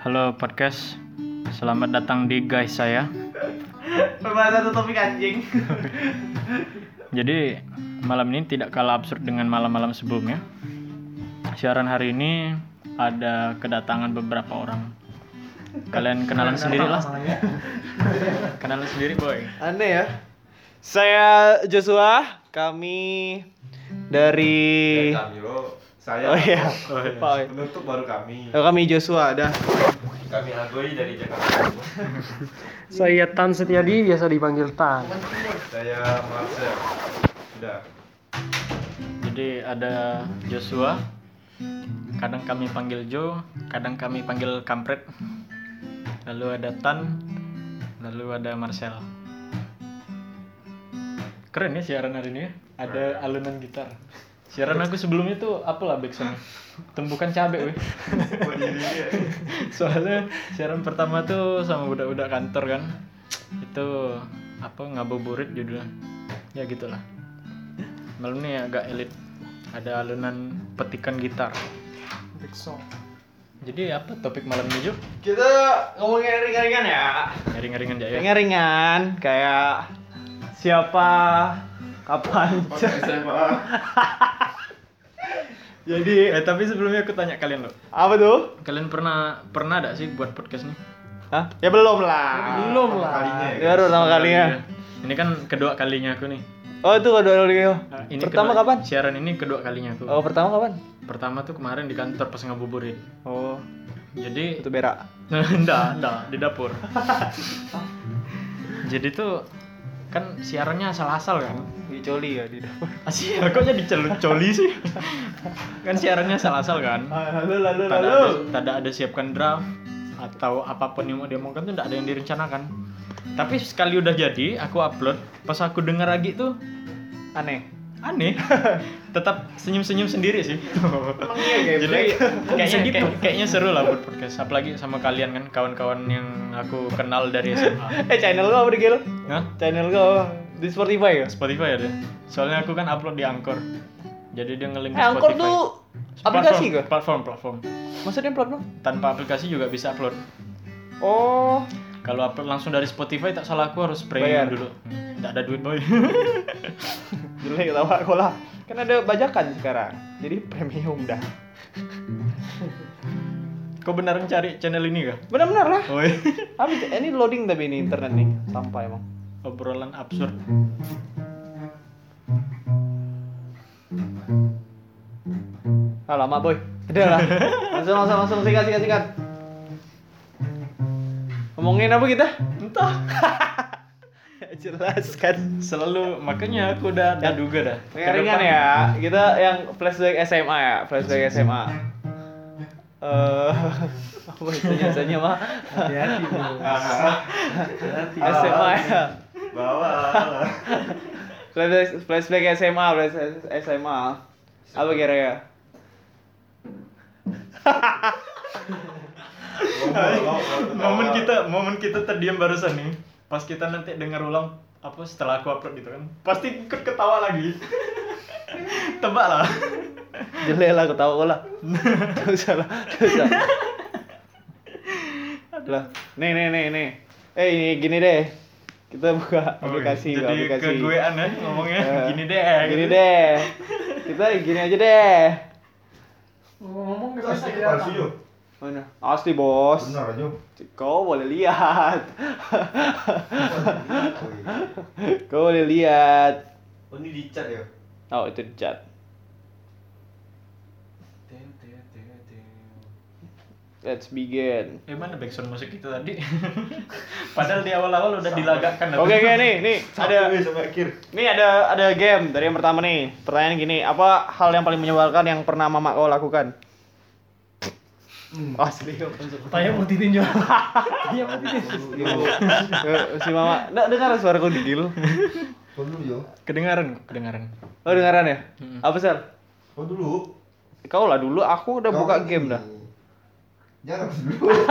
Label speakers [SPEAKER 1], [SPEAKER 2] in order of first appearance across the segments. [SPEAKER 1] Halo podcast, selamat datang di guys saya.
[SPEAKER 2] Pembahasan satu topik anjing.
[SPEAKER 1] Jadi malam ini tidak kalah absurd dengan malam-malam sebelumnya. Siaran hari ini ada kedatangan beberapa orang. Kalian kenalan sendiri lah. Kenalan sendiri boy.
[SPEAKER 2] Aneh ya. Saya Joshua, kami dari
[SPEAKER 3] Ya, kami lo saya
[SPEAKER 2] Oh iya. Pak Oi.
[SPEAKER 3] penutup baru kami
[SPEAKER 2] Oh, kami Joshua ada.
[SPEAKER 3] kami Agoy dari Jakarta
[SPEAKER 4] Saya Tan Setiadi, biasa dipanggil Tan.
[SPEAKER 3] saya Marcel sudah
[SPEAKER 1] Jadi ada Joshua. Kadang kami panggil Jo, kadang kami panggil Kampret. Lalu ada Tan, lalu ada Marcel. Keren ya siaran hari ini. ya. Ada alunan gitar. Siaran aku sebelumnya tuh apalah backsound. Tumbukan cabe weh.
[SPEAKER 3] buat diri dia
[SPEAKER 1] Soalnya siaran pertama tuh sama budak-budak kantor kan. Itu apa ngabuburit judulnya. Ya gitulah. Malam ini agak elit. Ada alunan petikan gitar. Jadi apa topik malam ini, Jo?
[SPEAKER 2] Kita ngomongin ringan-ringan ya.
[SPEAKER 1] Ringan-ringan aja ya.
[SPEAKER 2] Ringan-ringan kayak siapa kapan.
[SPEAKER 3] pakai SMA
[SPEAKER 2] Jadi
[SPEAKER 1] Eh tapi sebelumnya aku tanya kalian loh.
[SPEAKER 2] apa tuh?
[SPEAKER 1] Kalian pernah pernah ada sih buat podcast nih?
[SPEAKER 2] Hah? Ya belum lah. Iya.
[SPEAKER 4] Belum
[SPEAKER 3] pertama
[SPEAKER 4] lah.
[SPEAKER 3] kalinya ya,
[SPEAKER 2] Baru pertama kalinya.
[SPEAKER 1] Ini kan kedua kalinya aku nih.
[SPEAKER 2] Oh, itu kedua
[SPEAKER 1] Ini
[SPEAKER 2] kalinya. Nah, Pertama
[SPEAKER 1] kedua-
[SPEAKER 2] kapan?
[SPEAKER 1] Siaran ini kedua kalinya aku.
[SPEAKER 2] Oh, pertama kapan?
[SPEAKER 1] Pertama tuh kemarin di kantor pas ngabuburit.
[SPEAKER 2] Oh,
[SPEAKER 1] Jadi
[SPEAKER 2] itu berak.
[SPEAKER 1] Enggak, enggak, di dapur. jadi tuh kan siarannya asal-asal kan.
[SPEAKER 2] Dicoli ya di dapur.
[SPEAKER 1] Asyik, kok jadi celu- coli sih? kan siarannya asal-asal kan.
[SPEAKER 2] Ah, Lalu lalu
[SPEAKER 1] Tidak ada, tidak ada siapkan draft atau apapun yang mau diomongkan tuh tidak ada yang direncanakan. Tapi sekali udah jadi, aku upload, pas aku denger lagi tuh
[SPEAKER 2] Aneh.
[SPEAKER 1] aneh. Tetap senyum-senyum sendiri sih.
[SPEAKER 2] iya,
[SPEAKER 1] Jadi kayaknya
[SPEAKER 2] Bisa gitu.
[SPEAKER 1] kayak- kayaknya seru lah buat podcast. Apalagi sama kalian kan kawan-kawan yang aku kenal dari SMA.
[SPEAKER 2] Eh channel lu apa deh Gil?
[SPEAKER 1] Hah?
[SPEAKER 2] Channel lu apa? di Spotify ya?
[SPEAKER 1] Spotify ya deh. Soalnya aku kan upload di Anchor. Jadi dia ngelink ke
[SPEAKER 2] Eh Angkor
[SPEAKER 1] Spotify.
[SPEAKER 2] tuh
[SPEAKER 1] Platform-
[SPEAKER 2] aplikasi gak?
[SPEAKER 1] Platform, platform.
[SPEAKER 2] Maksudnya platform?
[SPEAKER 1] Tanpa aplikasi juga bisa upload.
[SPEAKER 2] Oh
[SPEAKER 1] Kalau upload langsung dari Spotify tak salah aku harus premium
[SPEAKER 2] Bayar.
[SPEAKER 1] dulu. Tidak ada duit boy.
[SPEAKER 2] jelek tawa aku lah Kan ada bajakan sekarang Jadi premium dah
[SPEAKER 1] Kau beneran cari channel ini gak?
[SPEAKER 2] Benar-benar lah
[SPEAKER 1] Oi.
[SPEAKER 2] Habis eh, ini loading tapi ini internet nih Sampah emang
[SPEAKER 1] Obrolan absurd.
[SPEAKER 2] Ah lama boy Udah lah Langsung langsung langsung sikat sikat sikat Ngomongin apa kita?
[SPEAKER 1] Entah.
[SPEAKER 2] Jelas kan Ya.
[SPEAKER 1] Selalu makanya aku udah udah duga dah. Ke
[SPEAKER 2] Ringan-ringan
[SPEAKER 1] depan-
[SPEAKER 2] ya Kita yang flashback SMA ya Flashback SMA Eh, apa istilahnya mah?
[SPEAKER 4] Hati-hati bro.
[SPEAKER 2] SMA ya.
[SPEAKER 3] bawa
[SPEAKER 2] Flashback, flashback SMA, flashback SMA. Apa kira-kira?
[SPEAKER 1] momen kita momen kita terdiam barusan nih pas kita nanti dengar ulang apa setelah aku upload gitu kan pasti ikut ketawa lagi tebak lah
[SPEAKER 2] Jelek lah ketawa gua lah. Gak usah lah, gak usah. Lah, nih nih nih nih. Eh ini gini deh. Kita buka aplikasi,
[SPEAKER 1] Oh, iya.
[SPEAKER 2] buka
[SPEAKER 1] jadi
[SPEAKER 2] aplikasi.
[SPEAKER 1] ke gue aneh ngomongnya
[SPEAKER 2] Eh,
[SPEAKER 1] gini deh gitu.
[SPEAKER 2] Gini deh. Kita gini aja deh.
[SPEAKER 4] Ngomong ke
[SPEAKER 3] pasti
[SPEAKER 4] saya
[SPEAKER 3] palsu yuk
[SPEAKER 2] Mana? Asli bos.
[SPEAKER 3] benar aja
[SPEAKER 2] Kau boleh lihat. Kau boleh lihat.
[SPEAKER 3] oh ini di chat ya
[SPEAKER 2] Oh itu di chat. Let's begin.
[SPEAKER 1] eh mana backsound musik itu tadi padahal di awal-awal udah dilagakkan
[SPEAKER 2] Oke oke nih nih ada
[SPEAKER 3] ada ya sampai akhir
[SPEAKER 2] nih ada ada game dari yang pertama nih. Pertanyaan gini, apa hal yang paling menyebalkan yang pernah mama kau lakukan? Oh, Asli kau langsung.
[SPEAKER 4] Tanya mau ditinjau.
[SPEAKER 1] Iya,
[SPEAKER 4] Tanya mau ditinjau.
[SPEAKER 2] Eh, si mama, nggak dengar suara kau digil.
[SPEAKER 3] kau dulu yo
[SPEAKER 1] kedengaran kedengaran
[SPEAKER 2] Oh dengaran ya? Apa sel?
[SPEAKER 3] kau dulu
[SPEAKER 2] Kau lah dulu, aku udah buka
[SPEAKER 3] Kau-
[SPEAKER 2] game dah.
[SPEAKER 3] jarang dulu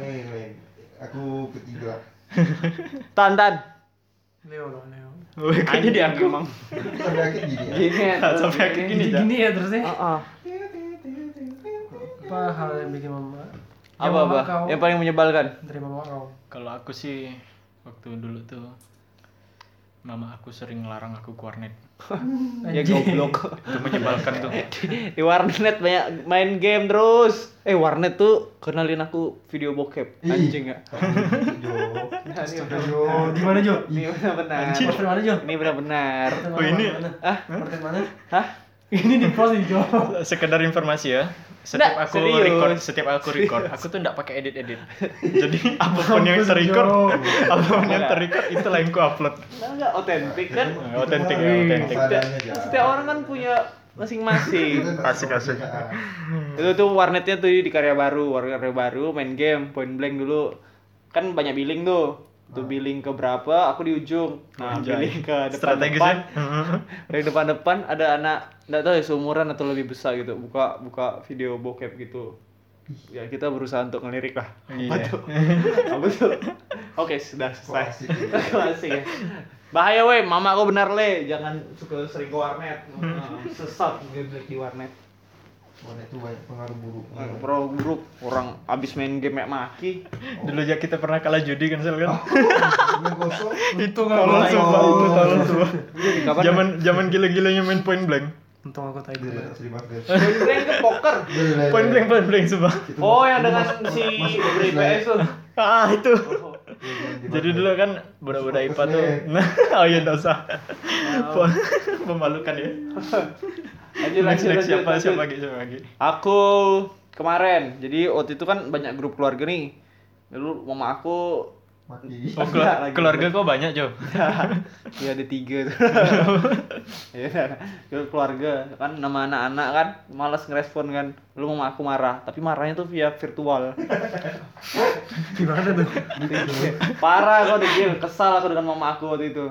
[SPEAKER 3] main main aku ketiga
[SPEAKER 2] Tantan.
[SPEAKER 4] Leo loh, Leo.
[SPEAKER 1] kayaknya di aku
[SPEAKER 2] emang.
[SPEAKER 3] sampai akhir gini ya
[SPEAKER 2] Gini ya. terus
[SPEAKER 1] sampai akhir
[SPEAKER 4] Iya.
[SPEAKER 1] gini
[SPEAKER 2] gini.
[SPEAKER 4] Jadi
[SPEAKER 1] dah
[SPEAKER 4] gini ya terusnya.
[SPEAKER 2] Ah, ah.
[SPEAKER 4] Apa hal yang bikin mama
[SPEAKER 2] Apa apa?
[SPEAKER 4] kau.
[SPEAKER 2] Yang paling menyebalkan?
[SPEAKER 4] Dari mama kau.
[SPEAKER 1] Kalau aku sih waktu dulu tuh mama aku sering larang aku ke warnet.
[SPEAKER 2] Ya goblok.
[SPEAKER 1] Itu menyebalkan tuh.
[SPEAKER 2] Di warnet banyak main game terus. Eh warnet tuh kenalin aku video bokep.
[SPEAKER 3] Ih.
[SPEAKER 2] Anjing ya.
[SPEAKER 3] Jo.
[SPEAKER 2] Ini
[SPEAKER 3] Jo.
[SPEAKER 4] di mana Jo?
[SPEAKER 2] benar-benar.
[SPEAKER 4] Di mana Jo?
[SPEAKER 2] Ini benar-benar.
[SPEAKER 1] Oh, ini?
[SPEAKER 2] Ah,
[SPEAKER 4] Pertanyaan mana?
[SPEAKER 2] hah?
[SPEAKER 4] Ini di post nih Jo.
[SPEAKER 1] Sekedar informasi ya. Setiap
[SPEAKER 2] Nggak,
[SPEAKER 1] aku
[SPEAKER 2] serius.
[SPEAKER 1] record, setiap aku record, aku tuh enggak pakai edit-edit. Jadi apapun yang
[SPEAKER 4] Mampus,
[SPEAKER 1] terrecord,
[SPEAKER 4] Jo.
[SPEAKER 1] apapun yang terrecord itulah yang ku upload.
[SPEAKER 2] Nah, enggak otentik kan?
[SPEAKER 1] Eh, otentik,
[SPEAKER 3] Itu mah
[SPEAKER 1] otentik.
[SPEAKER 3] kesadanya, Jo.
[SPEAKER 2] Setiap orang kan punya masing-masing.
[SPEAKER 3] Itu nggak
[SPEAKER 1] Asik, asik.
[SPEAKER 3] kesadaan.
[SPEAKER 2] itu tuh warnetnya tuh di karya baru warna karya baru main game point blank dulu kan banyak billing tuh tuh billing ke berapa aku di ujung nah
[SPEAKER 1] Anjay.
[SPEAKER 2] billing ke depan
[SPEAKER 1] Strategis
[SPEAKER 2] depan
[SPEAKER 1] ya.
[SPEAKER 2] dari depan depan ada anak nggak tahu ya seumuran atau lebih besar gitu buka buka video bokep gitu ya kita berusaha untuk ngelirik lah apa
[SPEAKER 1] Iya.
[SPEAKER 2] tuh apa tuh oke sudah selesai
[SPEAKER 3] Klasik, ya.
[SPEAKER 2] klasik ya bahaya weh mama aku benar le jangan suka sering ke warnet Oh, sesat ngelirik di warnet
[SPEAKER 3] Warna itu banyak pengaruh buruk.
[SPEAKER 2] Pro Hmm. buruk orang abis main game mek maki.
[SPEAKER 1] Dulu ya kita pernah kalah judi kan Sel, kan?
[SPEAKER 3] Yang kosong.
[SPEAKER 1] itu
[SPEAKER 4] nggak
[SPEAKER 1] tolong
[SPEAKER 4] boleh.
[SPEAKER 1] sumpah itu tolong sumpah.
[SPEAKER 2] Kapan?
[SPEAKER 1] Zaman zaman gila-gilanya main point blank.
[SPEAKER 4] Untung aku tadi.
[SPEAKER 3] Dia tak terima kasih.
[SPEAKER 2] Main game ke poker.
[SPEAKER 3] Dia lele.
[SPEAKER 1] Point blank point blank sumpah.
[SPEAKER 3] Itu
[SPEAKER 2] Oh,
[SPEAKER 3] mas-
[SPEAKER 2] yang
[SPEAKER 3] itu
[SPEAKER 2] dengan
[SPEAKER 3] mas-
[SPEAKER 2] si
[SPEAKER 3] masuk ke
[SPEAKER 2] Bri
[SPEAKER 3] kelas
[SPEAKER 2] PS tuh.
[SPEAKER 1] Ah itu.
[SPEAKER 3] lain.
[SPEAKER 1] Jadi dulu kan budak-budak IPA tuh.
[SPEAKER 3] Podcast
[SPEAKER 1] Nah, oh iya enggak usah. Memalukan ya.
[SPEAKER 2] Lanjut
[SPEAKER 1] Next,
[SPEAKER 2] lanjut
[SPEAKER 1] next,
[SPEAKER 2] lanjut.
[SPEAKER 1] siapa
[SPEAKER 2] lanjut.
[SPEAKER 1] siapa lagi siapa lagi?
[SPEAKER 2] Aku kemarin. Jadi waktu itu kan banyak grup keluarga nih. Dulu mama aku
[SPEAKER 3] Mati.
[SPEAKER 1] Oh,
[SPEAKER 2] Enggak
[SPEAKER 1] keluar-
[SPEAKER 2] lagi.
[SPEAKER 1] keluarga kok banyak, Jo.
[SPEAKER 2] ya ada tiga tuh. Iya, grup keluarga kan nama anak-anak kan malas ngerespon kan. Lu mama aku marah, tapi marahnya tuh via virtual.
[SPEAKER 4] Gimana tuh?
[SPEAKER 2] Parah aku udah gil, kesal aku dengan mama aku waktu itu.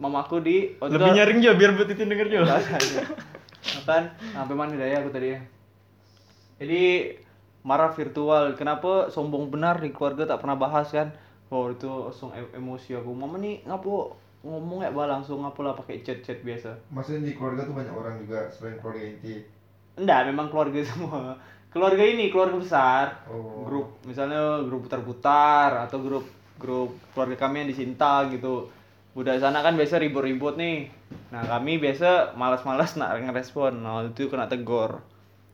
[SPEAKER 2] Mama aku di waktu itu-
[SPEAKER 1] Lebih nyaring Jo biar buat itu denger Jo.
[SPEAKER 2] Nggak ada, nggak ada. Kan sampai mana daya aku tadi ya. Jadi marah virtual. Kenapa sombong benar di keluarga tak pernah bahas kan? Oh itu langsung em- emosi aku. Mama nih ngapo ngomong ya bah langsung ngapo lah pakai chat-chat biasa.
[SPEAKER 3] Maksudnya di keluarga tuh banyak orang juga selain keluarga inti.
[SPEAKER 2] Enggak, memang keluarga semua. Keluarga ini keluarga besar.
[SPEAKER 3] Oh.
[SPEAKER 2] Grup misalnya grup putar-putar atau grup grup keluarga kami yang disinta gitu. Udah sana kan biasa ribut-ribut nih. Nah, kami biasa malas-malas nak ngerespon. Nah, waktu itu kena tegor.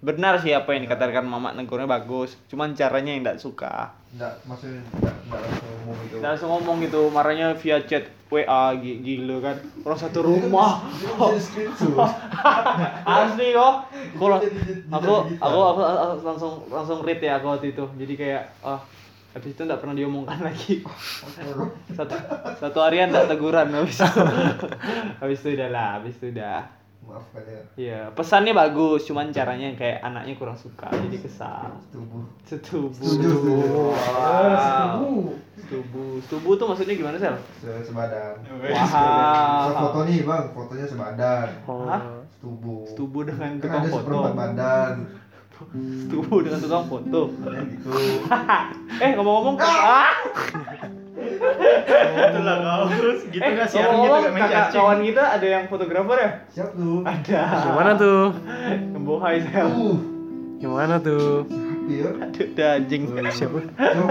[SPEAKER 2] Benar sih apa yang dikatakan Mama negornya bagus, cuman caranya yang enggak suka.
[SPEAKER 3] Enggak, maksudnya enggak enggak langsung ngomong gitu.
[SPEAKER 2] Nggak langsung ngomong gitu, marahnya via chat WA gi- gila kan. Orang satu rumah.
[SPEAKER 3] Itu kan bisa di screenshot.
[SPEAKER 2] asli kok aku lang-
[SPEAKER 3] Jadi- jadi-
[SPEAKER 2] aku
[SPEAKER 3] jadi gitu.
[SPEAKER 2] aku aku aku langsung langsung read ya aku waktu itu jadi kayak ah habis itu nggak pernah diomongkan lagi satu satu harian nggak teguran habis itu habis itu udah lah habis itu udah
[SPEAKER 3] Maafkan ya.
[SPEAKER 2] Iya, pesannya bagus, cuman caranya kayak anaknya kurang suka, jadi kesal.
[SPEAKER 3] Tubuh.
[SPEAKER 2] Setubu.
[SPEAKER 3] Setuju, setuju.
[SPEAKER 4] Ah,
[SPEAKER 2] Wow.
[SPEAKER 4] setuju.
[SPEAKER 2] Setubu. Setubu tuh maksudnya gimana, Sel?
[SPEAKER 3] Se- Sebadan. Kalau foto
[SPEAKER 2] Wow.
[SPEAKER 3] nih bang, fotonya sebadan,
[SPEAKER 2] Hah?
[SPEAKER 3] setubuh.
[SPEAKER 2] Setubu dengan
[SPEAKER 3] Kan
[SPEAKER 2] tukang
[SPEAKER 3] ada seperempat
[SPEAKER 2] foto.
[SPEAKER 3] badan,
[SPEAKER 2] Setubu dengan tukang foto.
[SPEAKER 3] kan gitu.
[SPEAKER 2] eh ngomong-ngomong ah
[SPEAKER 1] Itulah kau. Gitu
[SPEAKER 2] eh
[SPEAKER 1] enggak sih artinya
[SPEAKER 2] ngomong-ngomong
[SPEAKER 1] juga main
[SPEAKER 2] kakak
[SPEAKER 1] cacing.
[SPEAKER 2] kawan kita ada yang fotografer ya
[SPEAKER 3] Siap tuh.
[SPEAKER 2] ada
[SPEAKER 4] Ah. Gimana tuh?
[SPEAKER 2] bohai saya
[SPEAKER 3] Uh,
[SPEAKER 4] Gimana tuh?
[SPEAKER 3] happy ya.
[SPEAKER 2] aduh dah anjing
[SPEAKER 4] Siapa?
[SPEAKER 3] Coba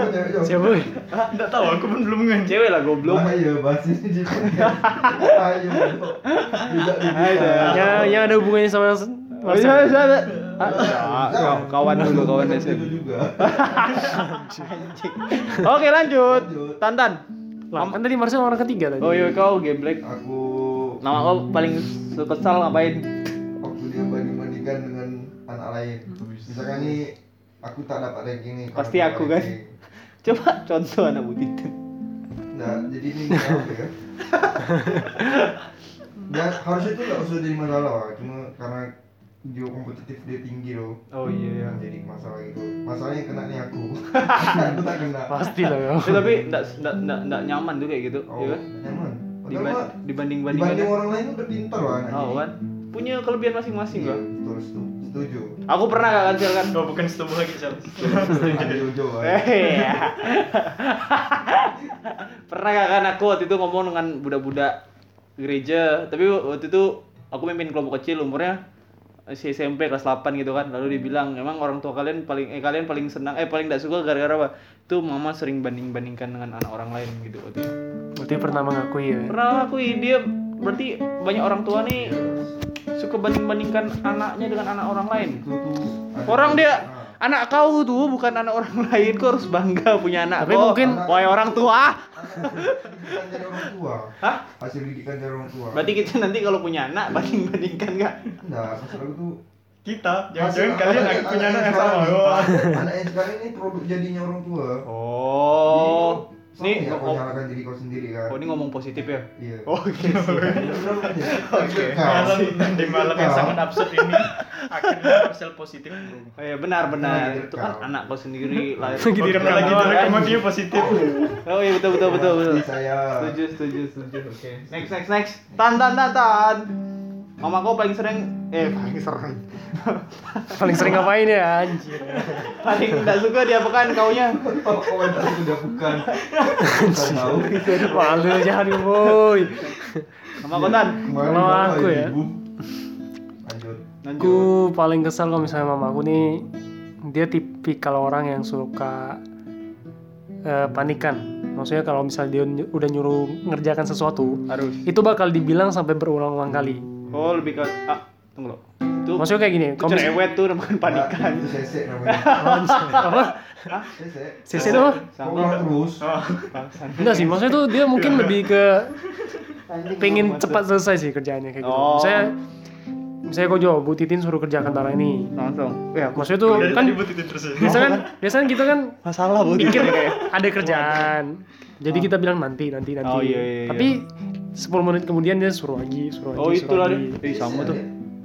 [SPEAKER 3] cewek coba.
[SPEAKER 4] Siapa? weh?
[SPEAKER 1] Enggak tahu aku pun belum nge.
[SPEAKER 2] Ah. cewek lah goblok
[SPEAKER 3] Bahaya bahas ini di podcast. Bahaya. Bro. Ah, iya, Tidak dibuka.
[SPEAKER 2] Ada.
[SPEAKER 4] Yang Ya, yang ada hubungannya sama Oh,
[SPEAKER 2] Saya- saya-
[SPEAKER 4] Marcel.
[SPEAKER 2] saya- Ah, enggak, kawan dulu kawan
[SPEAKER 3] Itu
[SPEAKER 2] SMP
[SPEAKER 3] Nah, gitu juga.
[SPEAKER 2] oke lanjut
[SPEAKER 3] Lanjut.
[SPEAKER 2] Tantan
[SPEAKER 4] Lah, kan tadi Marcel orang ketiga tadi.
[SPEAKER 2] oh iya kau geblek
[SPEAKER 3] Aku
[SPEAKER 2] nama kau paling kesal ngapain
[SPEAKER 3] waktu dia banding-bandingkan dengan anak lain. Misalkan nih aku tak dapat ranking nih.
[SPEAKER 2] Pasti
[SPEAKER 3] kalau
[SPEAKER 2] aku,
[SPEAKER 3] dapat
[SPEAKER 2] kan?
[SPEAKER 3] ranking.
[SPEAKER 2] coba contoh anak begitu
[SPEAKER 3] Nah, jadi ini nggak apa ya. Dan harusnya itu nggak usah jadi masalah, Wak. cuma karena jiwa kompetitif dia tinggi loh.
[SPEAKER 2] oh iya
[SPEAKER 3] Yang jadi masalah itu. Masalahnya kena nih aku. aku tak kena.
[SPEAKER 4] Pasti lah ya. kau.
[SPEAKER 2] Eh, tapi enggak enggak enggak enggak nyaman tuh kayak gitu
[SPEAKER 3] Oh,
[SPEAKER 2] iya kan
[SPEAKER 3] nyaman. Padahal
[SPEAKER 2] Diba-
[SPEAKER 3] Wak,
[SPEAKER 2] dibanding-bandingkan
[SPEAKER 3] dibanding orang lain udah pintar lah anak
[SPEAKER 2] Oh kan punya kelebihan masing-masing
[SPEAKER 3] Iya,
[SPEAKER 2] loh.
[SPEAKER 3] betul setu- setuju.
[SPEAKER 2] Aku pernah gak kan Sil, kan?
[SPEAKER 1] Kau bukan setubuh lagi, Sel.
[SPEAKER 3] Ada Jojo,
[SPEAKER 1] Oh, iya.
[SPEAKER 3] Wak.
[SPEAKER 2] Eh, ya. pernah gak kan aku waktu itu ngomong dengan budak-budak gereja, tapi waktu itu aku memimpin kelompok kecil umurnya si SMP kelas 8 gitu kan lalu dibilang
[SPEAKER 1] Hmm.
[SPEAKER 2] emang orang tua kalian paling eh kalian paling senang eh paling tidak suka gara-gara apa tuh mama sering banding bandingkan dengan anak orang lain gitu waktu itu.
[SPEAKER 4] Berarti pernah mengakui ya.
[SPEAKER 2] pernah aku dia berarti banyak orang tua nih suka banding bandingkan anaknya dengan anak orang lain
[SPEAKER 3] itu tuh ada-
[SPEAKER 2] orang dia
[SPEAKER 3] Ah.
[SPEAKER 2] anak kau tuh bukan anak orang lain kau harus bangga punya anak
[SPEAKER 4] Tapi
[SPEAKER 2] kau.
[SPEAKER 4] mungkin-
[SPEAKER 2] Wahai orang tua
[SPEAKER 3] didikan dari orang tua
[SPEAKER 2] Hah?
[SPEAKER 3] hasil didikan dari orang tua
[SPEAKER 2] berarti kita nanti kalau punya anak banding bandingkan nggak
[SPEAKER 3] enggak maksud aku tuh
[SPEAKER 1] Kita, jangan-jangan
[SPEAKER 3] hasil-
[SPEAKER 1] kalian
[SPEAKER 3] anak-
[SPEAKER 1] aku punya
[SPEAKER 3] anak
[SPEAKER 1] anak yang sama. Wah.
[SPEAKER 3] anak yang sekarang ini produk jadinya orang tua
[SPEAKER 2] oh
[SPEAKER 3] nih
[SPEAKER 2] ini
[SPEAKER 3] ya kau
[SPEAKER 2] oh,
[SPEAKER 3] nyalakan diri kau sendiri kan
[SPEAKER 2] oh, ini ngomong positif ya
[SPEAKER 3] iya
[SPEAKER 2] oke
[SPEAKER 3] oke
[SPEAKER 1] oh, Malam Iya, di malam yang sangat absurd ini akhirnya Marcel positif.
[SPEAKER 2] Oh iya benar benar
[SPEAKER 3] Nah,
[SPEAKER 2] itu kan
[SPEAKER 3] kau.
[SPEAKER 2] anak kau sendiri lahir.
[SPEAKER 4] Gitu
[SPEAKER 1] Oke,
[SPEAKER 4] kan.
[SPEAKER 1] ya. lagi direkam dia positif.
[SPEAKER 2] Oh iya betul betul betul betul.
[SPEAKER 3] saya
[SPEAKER 2] Setuju setuju setuju. Oke. Next next next. Tan tan tan tan. Mama kau paling sering eh paling sering
[SPEAKER 4] Paling sering ngapain ya anjir.
[SPEAKER 2] paling tidak suka diapakan kaunya.
[SPEAKER 3] Oh, komentar sudah bukan Bukan tahu
[SPEAKER 4] Malu jangan boy.
[SPEAKER 2] Mama kau tan.
[SPEAKER 3] kemarin
[SPEAKER 4] Kalau
[SPEAKER 3] bapak
[SPEAKER 4] aku ya.
[SPEAKER 3] ibu. lanjut
[SPEAKER 2] Lanjut.
[SPEAKER 4] Aku paling kesel kalau misalnya mamaku nih dia tipikal orang yang suka eh, panikan. Maksudnya kalau misalnya dia ny- udah nyuruh ngerjakan sesuatu,
[SPEAKER 2] Harus.
[SPEAKER 4] itu bakal dibilang sampai berulang-ulang kali.
[SPEAKER 2] Oh lebih ke ah tunggu lo. Itu
[SPEAKER 4] Maksudnya kayak gini,
[SPEAKER 2] itu
[SPEAKER 4] kalau mis-
[SPEAKER 2] cerewet tuh bukan panikan.
[SPEAKER 3] Nah, itu sesek namanya
[SPEAKER 4] apa?
[SPEAKER 3] sesek
[SPEAKER 4] Sisi itu apa?
[SPEAKER 3] kau
[SPEAKER 2] Sama Ah.
[SPEAKER 3] ulang terus
[SPEAKER 4] Enggak sih, maksudnya tuh dia mungkin lebih ke pengen cepat selesai sih kerjaannya kayak gitu.
[SPEAKER 2] Oh.
[SPEAKER 4] Misalnya misalnya kok Jo, Bu Titin suruh kerjakan barang ini.
[SPEAKER 2] langsung. Ya aku
[SPEAKER 4] Maksudnya tuh
[SPEAKER 1] Dari
[SPEAKER 4] kan
[SPEAKER 1] tadi butitin terus. ya.
[SPEAKER 4] biasanya kan biasanya kita kan
[SPEAKER 2] masalah bu.
[SPEAKER 4] pikir ada kerjaan. Jadi kita bilang nanti, nanti, nanti.
[SPEAKER 2] Oh, iya, iya, iya.
[SPEAKER 4] Tapi 10 menit kemudian dia suruh lagi, suruh lagi.
[SPEAKER 2] Oh
[SPEAKER 4] suruh
[SPEAKER 2] itulah
[SPEAKER 4] lagi.
[SPEAKER 2] dia. Eh sama tuh.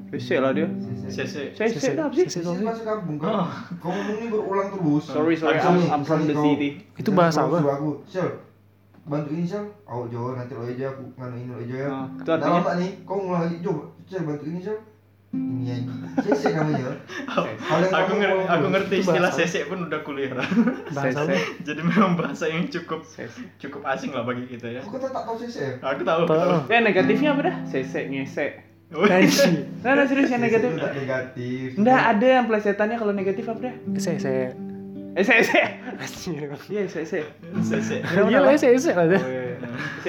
[SPEAKER 2] Sese lah dia.
[SPEAKER 3] sesek
[SPEAKER 1] Sese.
[SPEAKER 2] Sese
[SPEAKER 4] Sisi-
[SPEAKER 2] lah sih.
[SPEAKER 4] sisi
[SPEAKER 3] Sesek
[SPEAKER 4] doang sih.
[SPEAKER 3] masuk kampung kau
[SPEAKER 2] Ah.
[SPEAKER 3] kau ngomongnya berulang terus
[SPEAKER 2] Sorry sorry I'm, I'm from the city.
[SPEAKER 4] Itu bahasa apa?
[SPEAKER 3] Suruh aku, Sel, bantuin Sel. Aku Jo, nanti lo aja aku nganuin lo aja ya.
[SPEAKER 2] Nah, itu
[SPEAKER 3] Nah,
[SPEAKER 2] artinya-
[SPEAKER 3] lama nih, kau ngulang lagi Jo, Sel bantuin Sel. Ini aja. Sese kamu ya. Hal
[SPEAKER 1] Aku
[SPEAKER 3] yang kamu
[SPEAKER 1] ngerti,
[SPEAKER 3] ngomong
[SPEAKER 1] aku
[SPEAKER 3] terus.
[SPEAKER 1] ngerti istilah sesek pun udah kuliah.
[SPEAKER 4] Bahasa
[SPEAKER 2] Sese.
[SPEAKER 4] apa?
[SPEAKER 1] Jadi memang bahasa yang cukup
[SPEAKER 2] Sese.
[SPEAKER 1] cukup asing lah bagi kita ya.
[SPEAKER 3] Aku kan tak tahu sese.
[SPEAKER 1] Aku tahu. aku
[SPEAKER 4] Tahu.
[SPEAKER 1] tahu.
[SPEAKER 2] Eh negatifnya apa dah? Sesek ngesek.
[SPEAKER 4] Anjir.
[SPEAKER 2] Nah, nah serius yang
[SPEAKER 3] Sese
[SPEAKER 2] negatif.
[SPEAKER 3] itu tak negatif.
[SPEAKER 2] Nggak ada yang plesetannya kalau negatif apa dah?
[SPEAKER 4] Saya saya
[SPEAKER 2] Eh sesek.
[SPEAKER 4] anjir.
[SPEAKER 2] Iya sesek.
[SPEAKER 1] Sesek.
[SPEAKER 4] Iya lah, saya saya
[SPEAKER 2] Oh,
[SPEAKER 4] lah.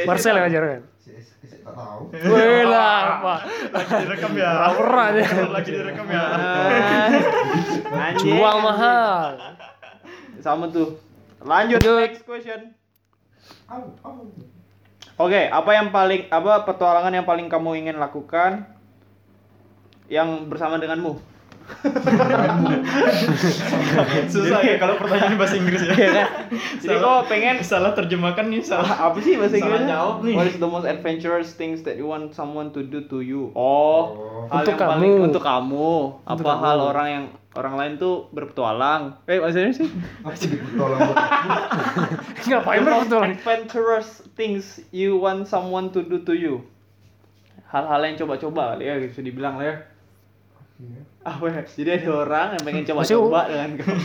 [SPEAKER 4] Marcel yang ngajar kan.
[SPEAKER 3] Sese sese tak tahu.
[SPEAKER 4] Wih lah, apa?
[SPEAKER 2] Iya.
[SPEAKER 1] Lagi direkam ya.
[SPEAKER 4] Pura-pura aja.
[SPEAKER 1] Lagi direkam ya.
[SPEAKER 2] Anjing.
[SPEAKER 4] Jual mahal.
[SPEAKER 2] Sama tuh. Lanjut
[SPEAKER 4] Lanjut.
[SPEAKER 2] next question.
[SPEAKER 3] Au, au.
[SPEAKER 2] Oke, apa yang paling apa petualangan yang paling kamu ingin lakukan yang bersama denganmu?
[SPEAKER 1] Susah ya kalau pertanyaan bahasa Inggris ya.
[SPEAKER 2] Iya kan? Jadi
[SPEAKER 1] Salah.
[SPEAKER 2] kok pengen
[SPEAKER 1] Salah terjemahkan nih salah.
[SPEAKER 2] apa sih bahasa
[SPEAKER 1] Salah
[SPEAKER 2] Inggrisnya?
[SPEAKER 1] jawab nih.
[SPEAKER 2] What is the most adventurous things that you want someone to do to you? Oh, hal
[SPEAKER 4] Untuk
[SPEAKER 2] yang paling
[SPEAKER 4] kamu.
[SPEAKER 2] untuk kamu.
[SPEAKER 4] Untuk
[SPEAKER 2] apa
[SPEAKER 4] kamu.
[SPEAKER 2] hal orang yang orang lain tuh berpetualang? Eh, maksudnya sih?
[SPEAKER 3] Aku ditolong buat aku.
[SPEAKER 4] Ngapain berbetulan?
[SPEAKER 2] adventurous things you want someone to do to you. Hal-hal yang coba-coba kali ya bisa dibilang lah ya.
[SPEAKER 3] Iya.
[SPEAKER 2] Apa ya? Jadi ada orang yang pengen
[SPEAKER 4] Maksudnya-
[SPEAKER 2] coba-coba dengan kamu.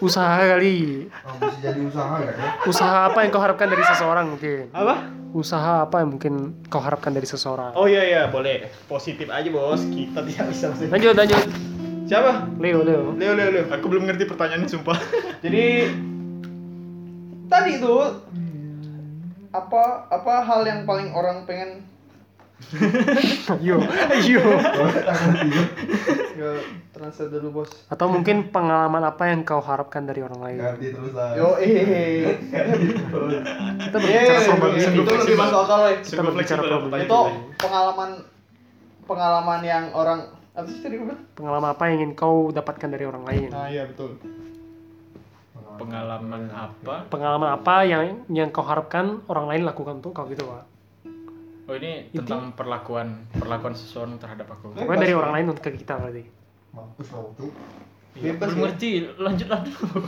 [SPEAKER 4] Usaha kali.
[SPEAKER 3] Kamu bisa jadi usaha nggak ya?
[SPEAKER 4] Usaha apa yang kau harapkan dari seseorang mungkin?
[SPEAKER 2] Apa?
[SPEAKER 4] Usaha apa yang mungkin kau harapkan dari seseorang?
[SPEAKER 2] Oh iya iya, boleh. Positif aja, Bos. Kita tidak bisa sih.
[SPEAKER 4] Lanjut, lanjut.
[SPEAKER 2] Siapa?
[SPEAKER 4] Leo, Leo.
[SPEAKER 2] Leo Leo Leo.
[SPEAKER 1] Aku belum ngerti pertanyaannya sumpah.
[SPEAKER 2] Jadi tadi itu apa apa hal yang paling orang pengen
[SPEAKER 4] Yo, yo.
[SPEAKER 3] Kalau tak ngerti ya.
[SPEAKER 2] ya transfer dulu bos.
[SPEAKER 4] Atau mungkin pengalaman apa yang kau harapkan dari orang lain?
[SPEAKER 3] Ganti terus lah.
[SPEAKER 2] Yo eh.
[SPEAKER 4] Kita berbicara problem
[SPEAKER 1] iya,
[SPEAKER 4] solving.
[SPEAKER 1] itu lebih masuk
[SPEAKER 2] akal loh.
[SPEAKER 4] Kita
[SPEAKER 1] Sungguh
[SPEAKER 4] berbicara
[SPEAKER 1] fleksibel
[SPEAKER 4] problem.
[SPEAKER 1] pertanyaan
[SPEAKER 2] Itu
[SPEAKER 1] kita ini.
[SPEAKER 2] pengalaman pengalaman yang orang apa sih tadi gue bilang?
[SPEAKER 4] Pengalaman apa yang ingin kau dapatkan dari orang lain?
[SPEAKER 1] Ah,
[SPEAKER 2] iya betul.
[SPEAKER 3] Nah,
[SPEAKER 1] Pengalaman apa?
[SPEAKER 4] Pengalaman apa yang yang kau harapkan orang lain lakukan untuk kau gitu, Pak?
[SPEAKER 1] Oh ini tentang perlakuan perlakuan seseorang terhadap aku.
[SPEAKER 4] Pokoknya dari orang lain ke kita berarti.
[SPEAKER 3] Mampus kau tuh.
[SPEAKER 1] Iya,
[SPEAKER 2] Bebas
[SPEAKER 1] belum
[SPEAKER 2] ya?
[SPEAKER 1] ngerti, lanjutlah dulu.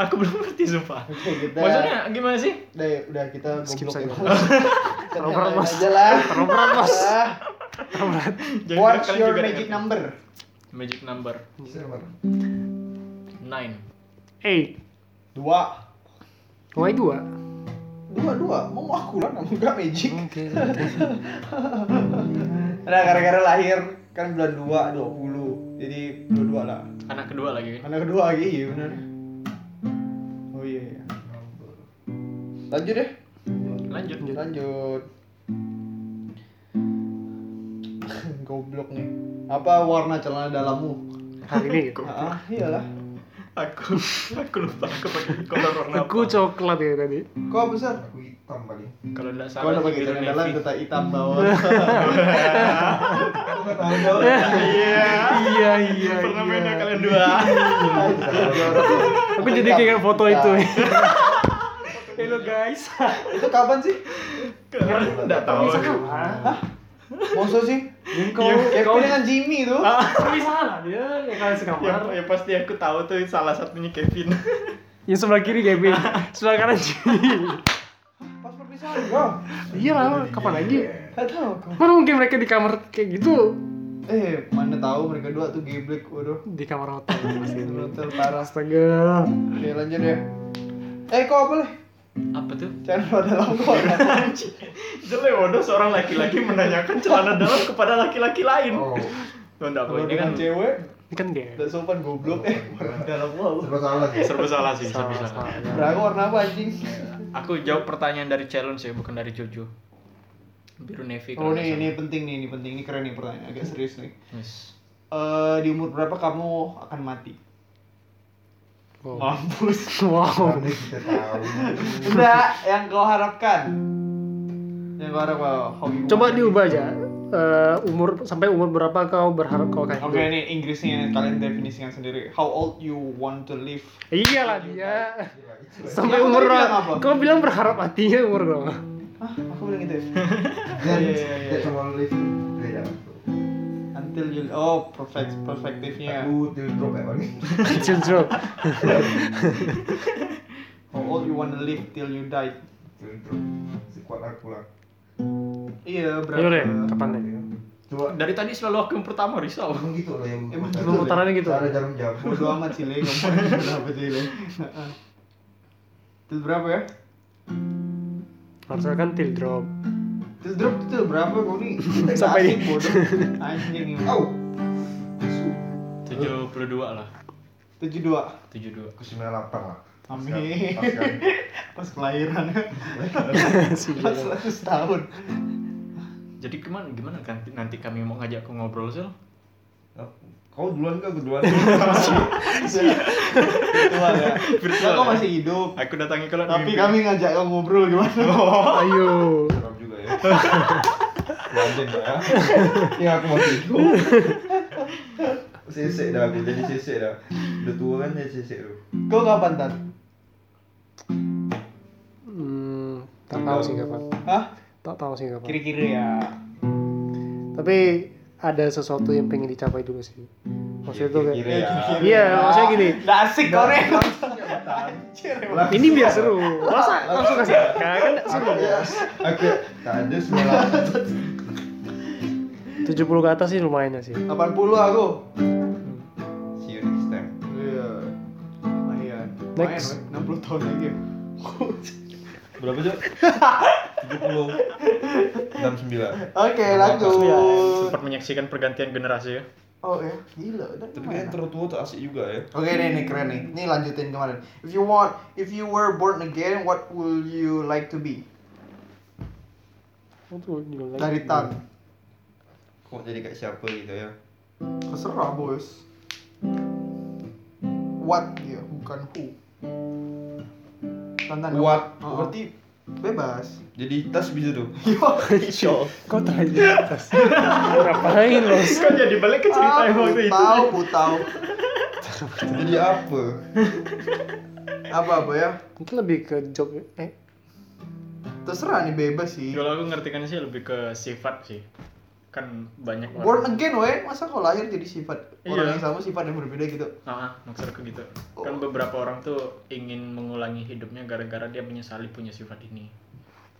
[SPEAKER 1] aku belum ngerti sumpah.
[SPEAKER 2] kita
[SPEAKER 1] Maksudnya gimana sih?
[SPEAKER 2] deh udah kita
[SPEAKER 4] Skip
[SPEAKER 2] goblok
[SPEAKER 4] saja.
[SPEAKER 2] ya, Bos. Kita
[SPEAKER 4] Terlalu berat,
[SPEAKER 2] nyalain
[SPEAKER 4] Bos.
[SPEAKER 2] aja lah.
[SPEAKER 4] Terlalu berat, Bos.
[SPEAKER 2] Ah,
[SPEAKER 1] Jangan
[SPEAKER 2] What's
[SPEAKER 1] kalian
[SPEAKER 2] your
[SPEAKER 1] juga ya.
[SPEAKER 2] magic
[SPEAKER 1] dengar.
[SPEAKER 2] number?
[SPEAKER 1] Magic number
[SPEAKER 3] Siapa?
[SPEAKER 1] 9.
[SPEAKER 4] Eh,
[SPEAKER 2] Dua.
[SPEAKER 4] why dua?
[SPEAKER 2] Dua dua. Mau aku lah kamu gak magic.
[SPEAKER 4] Oke.
[SPEAKER 2] Nah, gara-gara lahir kan bulan 2, 20. jadi dua-dua lah
[SPEAKER 1] anak kedua lagi kan
[SPEAKER 2] anak kedua lagi iya benar oh iya iya lanjut deh
[SPEAKER 1] lanjut
[SPEAKER 2] lanjut goblok nih apa warna celana dalammu
[SPEAKER 4] hari ini gitu.
[SPEAKER 2] ah iyalah
[SPEAKER 1] aku aku lupa aku pakai kolor warna apa
[SPEAKER 4] aku coklat ya tadi
[SPEAKER 2] kok besar
[SPEAKER 3] aku hitam paling
[SPEAKER 1] kalau tidak
[SPEAKER 2] kau
[SPEAKER 1] salah
[SPEAKER 2] udah pakai
[SPEAKER 1] biru
[SPEAKER 2] celana dalam
[SPEAKER 1] navy
[SPEAKER 2] tetap hitam
[SPEAKER 4] Hmm.
[SPEAKER 2] bawah
[SPEAKER 3] aku nggak tahu jauh
[SPEAKER 1] iya
[SPEAKER 4] iya iya
[SPEAKER 1] pernah main ya kalian dua
[SPEAKER 4] aku jadi kayak foto itu
[SPEAKER 1] Iya.
[SPEAKER 4] hello guys
[SPEAKER 2] Nah, itu kapan sih
[SPEAKER 1] tidak tahu aku.
[SPEAKER 2] Masa sih?
[SPEAKER 4] kau
[SPEAKER 2] Ya kau dengan Jimmy itu
[SPEAKER 4] perpisahan lah dia ya kalian
[SPEAKER 1] ya,
[SPEAKER 4] sekamar
[SPEAKER 1] ya pasti aku tahu tuh salah satunya Kevin
[SPEAKER 4] yang sebelah kiri Kevin sebelah kanan Iya, Jimmy
[SPEAKER 2] Pas perpisahan kau
[SPEAKER 4] iya lah kapan lagi
[SPEAKER 2] Gak tau kau
[SPEAKER 4] mana mungkin mereka di kamar kayak gitu
[SPEAKER 2] Eh mana tahu mereka dua tuh geblek Waduh
[SPEAKER 4] di kamar hotel pasti
[SPEAKER 2] Brutal parah
[SPEAKER 4] astaga
[SPEAKER 2] Oke lanjut ya Eh kau apa leh?
[SPEAKER 1] apa tuh
[SPEAKER 2] Jangan lupa dalam kau
[SPEAKER 1] jelek waduh seorang laki-laki menanyakan celana dalam kepada laki-laki lain
[SPEAKER 3] oh
[SPEAKER 1] tuh enggak apa ini
[SPEAKER 2] Kalau
[SPEAKER 1] kan
[SPEAKER 2] dengan cewek
[SPEAKER 4] ini kan gay
[SPEAKER 2] Udah sopan goblok Eh
[SPEAKER 4] Iya.
[SPEAKER 2] warna dalam wow
[SPEAKER 3] serba salah sih
[SPEAKER 1] serba salah sih serba
[SPEAKER 4] Salah,
[SPEAKER 1] salah
[SPEAKER 4] salah.
[SPEAKER 2] Berapa warna apa anjing?
[SPEAKER 1] aku jawab pertanyaan dari challenge ya bukan dari Jojo biru
[SPEAKER 4] Iya,
[SPEAKER 1] navy
[SPEAKER 2] Oh
[SPEAKER 1] kalau
[SPEAKER 2] nih,
[SPEAKER 1] nggak
[SPEAKER 2] ini penting nih, ini penting, ini keren nih pertanyaan, agak serius nih
[SPEAKER 1] salah. Yes.
[SPEAKER 2] Eh Di umur berapa kamu akan mati?
[SPEAKER 4] wow
[SPEAKER 2] Mampus
[SPEAKER 4] wow
[SPEAKER 3] Ini kita tahu
[SPEAKER 2] Iya, Enggak, yang kau harapkan Yang kau harap kau hobi
[SPEAKER 4] Coba diubah aja. Eh, umur sampai umur berapa kau berharap kau gitu? akan
[SPEAKER 2] Oke
[SPEAKER 4] hidup?
[SPEAKER 2] nih Inggrisnya kalian definisikan sendiri. How old you want to live?
[SPEAKER 4] Iyalah Iya dia.
[SPEAKER 3] Gila, itu lah.
[SPEAKER 4] Sampai
[SPEAKER 2] Yang
[SPEAKER 4] umur
[SPEAKER 2] tadi bilang apa?
[SPEAKER 4] Kau bilang berharap matinya umur berapa?
[SPEAKER 2] Hah, aku bilang gitu. ya?
[SPEAKER 3] Dan
[SPEAKER 2] Iya, iya, iya.
[SPEAKER 3] that's all life beda
[SPEAKER 2] Until you oh perfect perspektifnya.
[SPEAKER 3] aku till drop ya paling
[SPEAKER 4] Kecil bro.
[SPEAKER 2] How old you want to live till you die?
[SPEAKER 3] till drop sekuat aku lah
[SPEAKER 2] Iya
[SPEAKER 4] Ayo deh,
[SPEAKER 2] berapa?
[SPEAKER 4] kapan deh?
[SPEAKER 3] Iya. coba
[SPEAKER 1] dari tadi selalu aku yang pertama risau
[SPEAKER 3] emang gitu loh yang
[SPEAKER 2] Emang
[SPEAKER 3] Cara-
[SPEAKER 2] gitu.
[SPEAKER 4] Belum putarannya gitu.
[SPEAKER 3] cara jarum jam
[SPEAKER 2] Bodoh amat sih le, kamu berapa sih le? Heeh. Till berapa ya?
[SPEAKER 4] Harusnya kan till drop.
[SPEAKER 2] Till drop itu berapa kau nih? Asik,
[SPEAKER 4] Sampai di-
[SPEAKER 2] bodoh. Anjing.
[SPEAKER 3] au
[SPEAKER 2] Oh,
[SPEAKER 1] 72 lah
[SPEAKER 2] 72.
[SPEAKER 1] 72
[SPEAKER 3] aku 98 lah
[SPEAKER 2] Amin.
[SPEAKER 3] Pas kan.
[SPEAKER 2] Pas kelahiran.
[SPEAKER 4] Si
[SPEAKER 2] Pas
[SPEAKER 4] gila.
[SPEAKER 2] 100 tahun.
[SPEAKER 1] jadi gimana gimana kan nanti kami mau ngajak kau ngobrol sel
[SPEAKER 3] kau duluan kan aku duluan
[SPEAKER 2] Virtual ya.
[SPEAKER 1] Virtual
[SPEAKER 2] Nah, kau
[SPEAKER 1] ya?
[SPEAKER 2] masih hidup.
[SPEAKER 1] aku datangi kalau
[SPEAKER 2] Tapi kan- kami ngajak kamu ngobrol gimana?
[SPEAKER 4] Ayo.
[SPEAKER 3] Serem juga ya lanjut ya ya aku mau tidur sesek dah aku jadi sesek dah udah tua kan jadi sesek tuh
[SPEAKER 2] Kau kapan tan?
[SPEAKER 4] Hmm, tak tahu sih kapan.
[SPEAKER 2] Hah?
[SPEAKER 4] Tak tahu sih kapan.
[SPEAKER 2] Kiri-kiri ya.
[SPEAKER 4] Tapi ada sesuatu yang pengen dicapai dulu sih. Maksudnya
[SPEAKER 2] kan.
[SPEAKER 4] tuh kayak
[SPEAKER 3] Kira-kira ya.
[SPEAKER 4] Iya, maksudnya gini.
[SPEAKER 2] Nggak Iya, asik kau nih.
[SPEAKER 4] ini biar seru. Masa langsung kasih angka kan
[SPEAKER 3] aku
[SPEAKER 2] Ya,
[SPEAKER 3] aku tak ada semua
[SPEAKER 4] 70 ke atas sih lumayan sih.
[SPEAKER 2] 80 aku.
[SPEAKER 3] see you next time
[SPEAKER 2] Iya. Lumayan. Lumayan,
[SPEAKER 4] Next.
[SPEAKER 2] weh. 60 tahun lagi.
[SPEAKER 3] berapa cok? 70 69
[SPEAKER 2] Oke, lanjut.
[SPEAKER 1] ya,
[SPEAKER 3] ya.
[SPEAKER 1] sempat menyaksikan pergantian generasi ya
[SPEAKER 2] Oh ya, gila. udah
[SPEAKER 3] tapi
[SPEAKER 2] lumayan.
[SPEAKER 3] kayaknya terlalu tua tuh asik juga ya
[SPEAKER 2] Oke nih, nih keren nih. Ini lanjutin kemarin. If you want, if you were born again, what will you like to be?
[SPEAKER 4] Oh, tuh, juga lagi.
[SPEAKER 2] Dari Tan.
[SPEAKER 3] kok jadi kayak siapa gitu ya
[SPEAKER 2] Terserah bos. What ya, bukan who. Tantan.
[SPEAKER 3] What?
[SPEAKER 2] Oh, berarti bebas.
[SPEAKER 3] jadi tas bisa tuh
[SPEAKER 2] Yo,
[SPEAKER 4] Kau tanya di atas. Ngapain lo?
[SPEAKER 1] kan jadi balik ke cerita yang waktu itu
[SPEAKER 2] Tahu, ku tahu.
[SPEAKER 3] jadi apa?
[SPEAKER 2] Apa apa ya?
[SPEAKER 4] Mungkin lebih ke job eh
[SPEAKER 2] Terserah nih bebas sih.
[SPEAKER 1] kalau aku ngertikan sih lebih ke sifat sih kan banyak
[SPEAKER 2] Born again, weh. Masa kau lahir jadi sifat orang
[SPEAKER 1] Iya.
[SPEAKER 2] yang sama sifat yang berbeda gitu?
[SPEAKER 1] Ah, maksud aku gitu. Kan beberapa orang tuh ingin mengulangi hidupnya gara-gara dia menyesali punya sifat ini.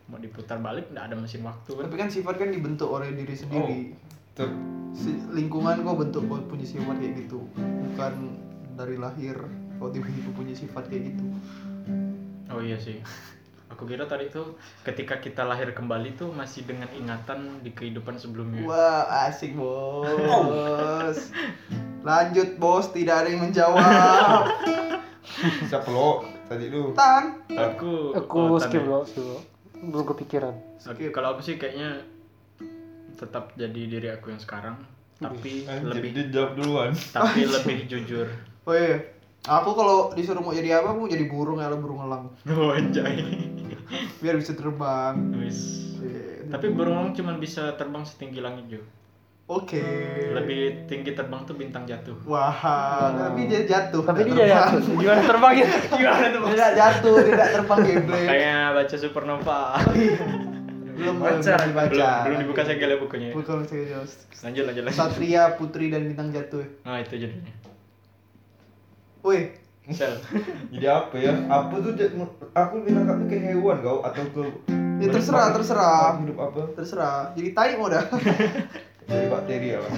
[SPEAKER 1] Mau diputar balik nggak ada mesin waktu kan.
[SPEAKER 2] Tapi kan sifat kan dibentuk oleh diri
[SPEAKER 1] Oh.
[SPEAKER 2] sendiri.
[SPEAKER 3] Ter
[SPEAKER 2] Si- lingkungan kau bentuk kau punya sifat kayak gitu. Bukan dari lahir kau tiba-tiba punya sifat kayak gitu.
[SPEAKER 1] Oh iya sih. Aku kira tadi tuh ketika kita lahir kembali tuh masih dengan ingatan di kehidupan sebelumnya.
[SPEAKER 2] Wah, asik bos. Lanjut bos, tidak ada yang menjawab.
[SPEAKER 3] Siapa lo tadi lu?
[SPEAKER 2] Tan.
[SPEAKER 1] Aku
[SPEAKER 4] Aku
[SPEAKER 1] kekuatan
[SPEAKER 4] skip
[SPEAKER 1] ya.
[SPEAKER 4] lo, skip lo. Belum kepikiran.
[SPEAKER 1] Oke, Kalau aku sih kayaknya tetap jadi diri aku yang sekarang, tapi
[SPEAKER 3] Anjir,
[SPEAKER 1] lebih
[SPEAKER 3] Kan, dia jawab duluan.
[SPEAKER 1] tapi lebih jujur.
[SPEAKER 2] Oh iya. Aku kalau disuruh mau jadi apa, mau jadi burung ya, burung elang.
[SPEAKER 1] Oh, anjay.
[SPEAKER 2] Biar bisa terbang.
[SPEAKER 1] Wis.
[SPEAKER 2] Iya.
[SPEAKER 1] Tapi burung cuma bisa terbang setinggi langit Jo.
[SPEAKER 2] Oke.
[SPEAKER 1] Lebih tinggi terbang tuh bintang jatuh.
[SPEAKER 2] Wah, tapi dia jatuh.
[SPEAKER 4] Tapi
[SPEAKER 2] tidak
[SPEAKER 4] dia
[SPEAKER 2] terbang.
[SPEAKER 4] ya. jatuh. Nah. Gimana terbang ya?
[SPEAKER 1] Gimana tuh?
[SPEAKER 2] Dia tidak jatuh, dia tidak terbang gameplay.
[SPEAKER 1] Kayak baca supernova.
[SPEAKER 2] Belum belum
[SPEAKER 1] Wawancara.
[SPEAKER 2] dibaca.
[SPEAKER 1] Belum, belum dibuka segala bukunya. ya.
[SPEAKER 2] Bukan serius.
[SPEAKER 1] Lanjut lanjut lanjut.
[SPEAKER 2] Satria, Putri dan Bintang Jatuh.
[SPEAKER 1] Nah, itu judulnya.
[SPEAKER 2] Woi,
[SPEAKER 1] Sel.
[SPEAKER 3] Jadi apa ya? Apa tuh dia- aku bilang kamu ke hewan kau atau ke
[SPEAKER 2] ya terserah, terserah.
[SPEAKER 3] hidup apa?
[SPEAKER 2] Terserah. Jadi tai mau dah.
[SPEAKER 3] Dari bakteri apa?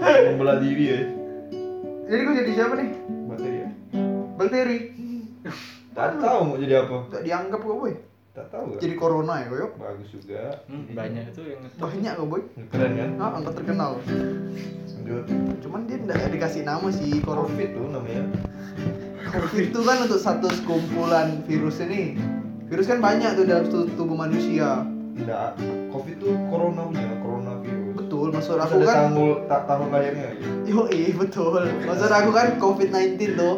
[SPEAKER 3] Membelah diri ya.
[SPEAKER 2] Jadi gue jadi siapa nih?
[SPEAKER 3] Bakteri ya.
[SPEAKER 2] Bakteri.
[SPEAKER 3] Tak tahu mau jadi apa.
[SPEAKER 2] Tidak dianggap kok, boy.
[SPEAKER 3] Tak tahu kan?
[SPEAKER 2] Hmm. Jadi corona ya, boy.
[SPEAKER 3] Bagus juga.
[SPEAKER 1] Hmm, banyak itu yang
[SPEAKER 2] Banyak kok, boy.
[SPEAKER 3] Keren kan?
[SPEAKER 2] Nah, angkat terkenal.
[SPEAKER 3] Lanjut.
[SPEAKER 2] Cuman dia tidak dikasih nama sih corona.
[SPEAKER 3] Covid tuh namanya.
[SPEAKER 2] Covid itu kan untuk satu sekumpulan virus ini. Virus kan banyak tuh dalam tu- tubuh manusia.
[SPEAKER 3] Tidak. Covid tuh corona punya coronavirus.
[SPEAKER 2] Betul, maksud
[SPEAKER 3] Terus
[SPEAKER 2] aku
[SPEAKER 3] ada
[SPEAKER 2] kan
[SPEAKER 3] tanggul tak tahun lahirnya gitu.
[SPEAKER 2] Yoi, betul. Maksud aku kan COVID-19 tuh.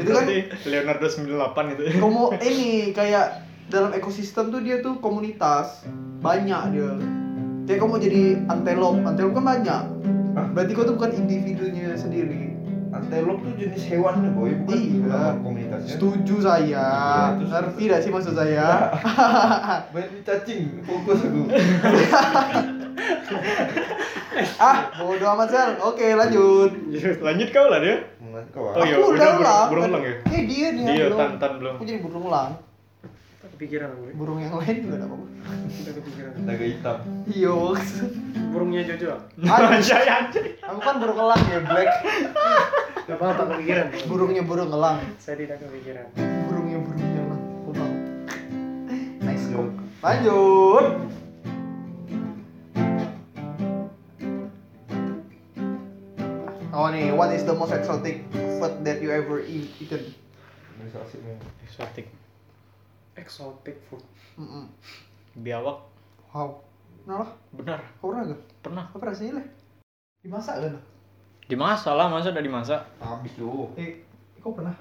[SPEAKER 2] Itu kan
[SPEAKER 1] Leonardo 98 gitu.
[SPEAKER 2] komo ini kayak dalam ekosistem tuh dia tuh komunitas banyak dia kayak kamu jadi antelop antelop kan banyak
[SPEAKER 3] Hah?
[SPEAKER 2] berarti kau tuh bukan individunya sendiri
[SPEAKER 3] Antelop tuh jenis hewan ya boy, bukan
[SPEAKER 2] Iya.
[SPEAKER 3] bukan komunitasnya.
[SPEAKER 2] setuju saya
[SPEAKER 3] Iya, terus-
[SPEAKER 2] ngerti tidak sih maksud saya
[SPEAKER 3] Main di cacing, Nah, fokus aku.
[SPEAKER 1] Ya.
[SPEAKER 2] ah bodo amat sel oke lanjut
[SPEAKER 1] lanjut kau lah dia.
[SPEAKER 3] Mengat kau. ah,
[SPEAKER 1] Oh, iya.
[SPEAKER 2] aku
[SPEAKER 1] udah
[SPEAKER 2] udah
[SPEAKER 1] burung-
[SPEAKER 2] ulang
[SPEAKER 1] burung
[SPEAKER 2] kan.
[SPEAKER 1] ulang ya?
[SPEAKER 2] eh dia nih
[SPEAKER 1] Dia,
[SPEAKER 2] belum.
[SPEAKER 1] Tan, Tan, belum.
[SPEAKER 2] aku jadi burung ulang
[SPEAKER 4] Kepikiran gue.
[SPEAKER 2] burung yang lain juga gak apa-apa Iya,
[SPEAKER 4] Udah kepikiran.
[SPEAKER 3] Naga hitam.
[SPEAKER 2] iyo
[SPEAKER 4] Burungnya Jojo.
[SPEAKER 1] anjay anjay.
[SPEAKER 2] aku kan burung elang ya black
[SPEAKER 4] Gak apa-apa kepikiran.
[SPEAKER 2] burungnya burung elang
[SPEAKER 4] Saya tidak kepikiran.
[SPEAKER 2] burungnya burungnya lah Kau tahu. nice kok
[SPEAKER 3] Lanjut.
[SPEAKER 2] lanjut oh nih what is the most exotic food that you ever eat eaten
[SPEAKER 3] Ini asik nih.
[SPEAKER 1] Eksotik.
[SPEAKER 4] Exotic food.
[SPEAKER 2] Mm-mm.
[SPEAKER 1] Biawak.
[SPEAKER 2] wow nah lah
[SPEAKER 1] Benar.
[SPEAKER 2] kau pernah gak
[SPEAKER 1] Pernah.
[SPEAKER 2] apa rasanya lah dimasak kan
[SPEAKER 1] Dimasak lah, masa udah dimasak.
[SPEAKER 3] Habis oh. lu.
[SPEAKER 2] eh kau pernah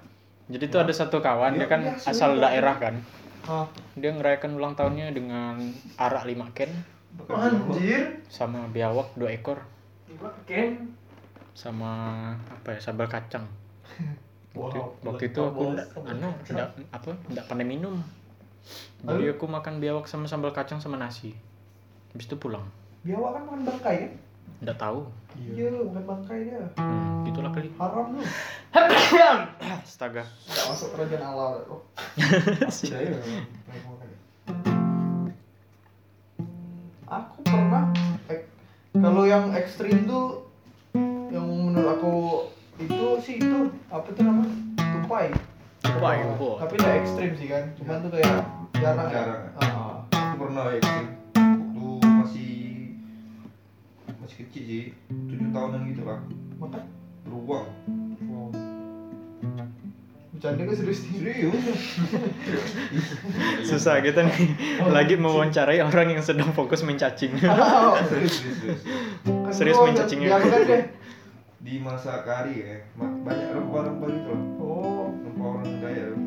[SPEAKER 1] Jadi tuh ada satu kawan, dia kan asal daerah kan.
[SPEAKER 2] ah
[SPEAKER 1] Dia ngerayakan ulang tahunnya dengan arak lima ken
[SPEAKER 2] anjir
[SPEAKER 1] sama biawak dua ekor
[SPEAKER 4] Ken.
[SPEAKER 1] sama apa ya sambal kacang. Waktu,
[SPEAKER 2] Wow,
[SPEAKER 1] waktu itu aku nggak- anu, nggak- apa nggak pandai minum. Jadi aku makan biawak sama sambal kacang sama nasi. Habis itu pulang.
[SPEAKER 2] biawak kan makan bangkai kan
[SPEAKER 1] Nggak tahu.
[SPEAKER 2] iya bukan bangkai dia
[SPEAKER 1] Hmm, gitulah kali.
[SPEAKER 2] haram lu
[SPEAKER 1] Astaga.
[SPEAKER 2] nggak masuk kerajaan Allah oh.
[SPEAKER 3] Percaya nggak?
[SPEAKER 2] aku pernah ek- kalau yang ekstrim tuh yang menurut aku itu sih itu apa tuh namanya tupai
[SPEAKER 1] ya,
[SPEAKER 2] Oh,
[SPEAKER 1] Wah, ibu.
[SPEAKER 2] tapi udah ekstrim sih kan cuman tuh kayak jarang
[SPEAKER 3] Jarang. ya?
[SPEAKER 2] Ah.
[SPEAKER 3] Aku pernah ya kan. Waktu masih masih kecil sih, tujuh tahunan gitu lah.
[SPEAKER 2] makan
[SPEAKER 3] Beruang.
[SPEAKER 2] bercanda gue serius nih
[SPEAKER 3] Serius?
[SPEAKER 1] Susah kita nih lagi mewawancarai orang yang sedang fokus mencacing.
[SPEAKER 2] Kan
[SPEAKER 3] serius, serius, serius.
[SPEAKER 1] Serius main cacingnya.
[SPEAKER 2] ya kan deh
[SPEAKER 3] Di masa kari ya, ma- banyak rempah-rempah gitu loh.
[SPEAKER 2] oh
[SPEAKER 3] Rempah orang kaya. loh.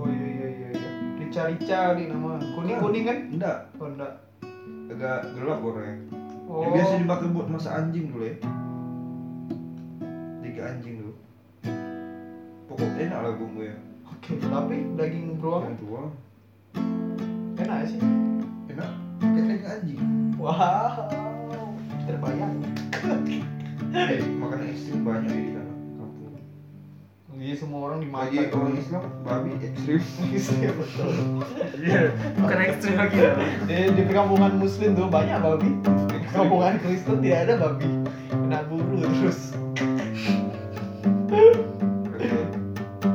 [SPEAKER 2] oh iya iya iya iya rica rica nih nama kuning kuning kan
[SPEAKER 3] Enggak,
[SPEAKER 2] oh enggak
[SPEAKER 3] agak gelap warnanya.
[SPEAKER 2] oh
[SPEAKER 3] Yang biasa dipakai buat masak anjing dulu ya. Tiga anjing dulu. Pokok enak lah bumbunya.
[SPEAKER 2] oke tapi daging beruang
[SPEAKER 3] Yang tua
[SPEAKER 2] enak ya sih
[SPEAKER 3] enak. Kayak telinga anjing.
[SPEAKER 2] wow terbayang
[SPEAKER 3] Eh, makanan ekstrim banyak ya di sana kampung.
[SPEAKER 2] Iya semua orang dimakan.
[SPEAKER 3] Bagi orang Islam, babi ekstrim.
[SPEAKER 2] Iya, betul.
[SPEAKER 4] Bukan ekstrim lagi lah.
[SPEAKER 2] Di, di perkampungan Muslim tuh banyak babi. Di perkampungan Kristen tidak ada babi. Kena guru terus.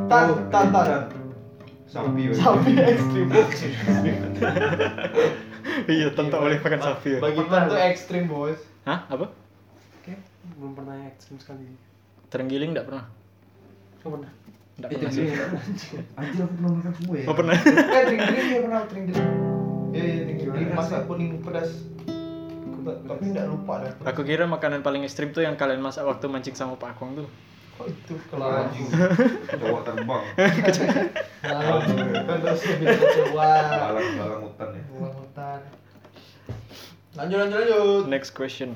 [SPEAKER 2] Tan,
[SPEAKER 3] Oh,
[SPEAKER 2] tan, tan.
[SPEAKER 3] dan. Sapi. weh.
[SPEAKER 2] Sapi ekstrim.
[SPEAKER 1] iya, tentu boleh makan sapi. ya.
[SPEAKER 2] Bagi tan tuh ekstrim bos.
[SPEAKER 1] Hah? Apa?
[SPEAKER 4] belum pernah yang ekstrim sekali
[SPEAKER 1] terenggiling nggak pernah
[SPEAKER 4] Kau pernah
[SPEAKER 1] nggak
[SPEAKER 3] Eh,
[SPEAKER 1] pernah
[SPEAKER 2] Iya,
[SPEAKER 3] Anjir Anjir, aku pernah makan semua ya
[SPEAKER 1] oh pernah
[SPEAKER 2] Eh, tring-tring dia pernah tring-tring.
[SPEAKER 3] Iya, iya, tinggi
[SPEAKER 2] Dia masak kuning pedas. Aku- Tapi enggak lupa dah.
[SPEAKER 1] aku kira makanan paling ekstrim tuh yang kalian masak waktu mancing sama Pak Akong tuh
[SPEAKER 2] Kok itu kelar?
[SPEAKER 3] Anjing Jawa terbang
[SPEAKER 2] Lalu, kan terus bisa keluar.
[SPEAKER 3] Balang-balang hutan ya
[SPEAKER 2] Buang hutan. Lanjut, lanjut, lanjut.
[SPEAKER 1] next question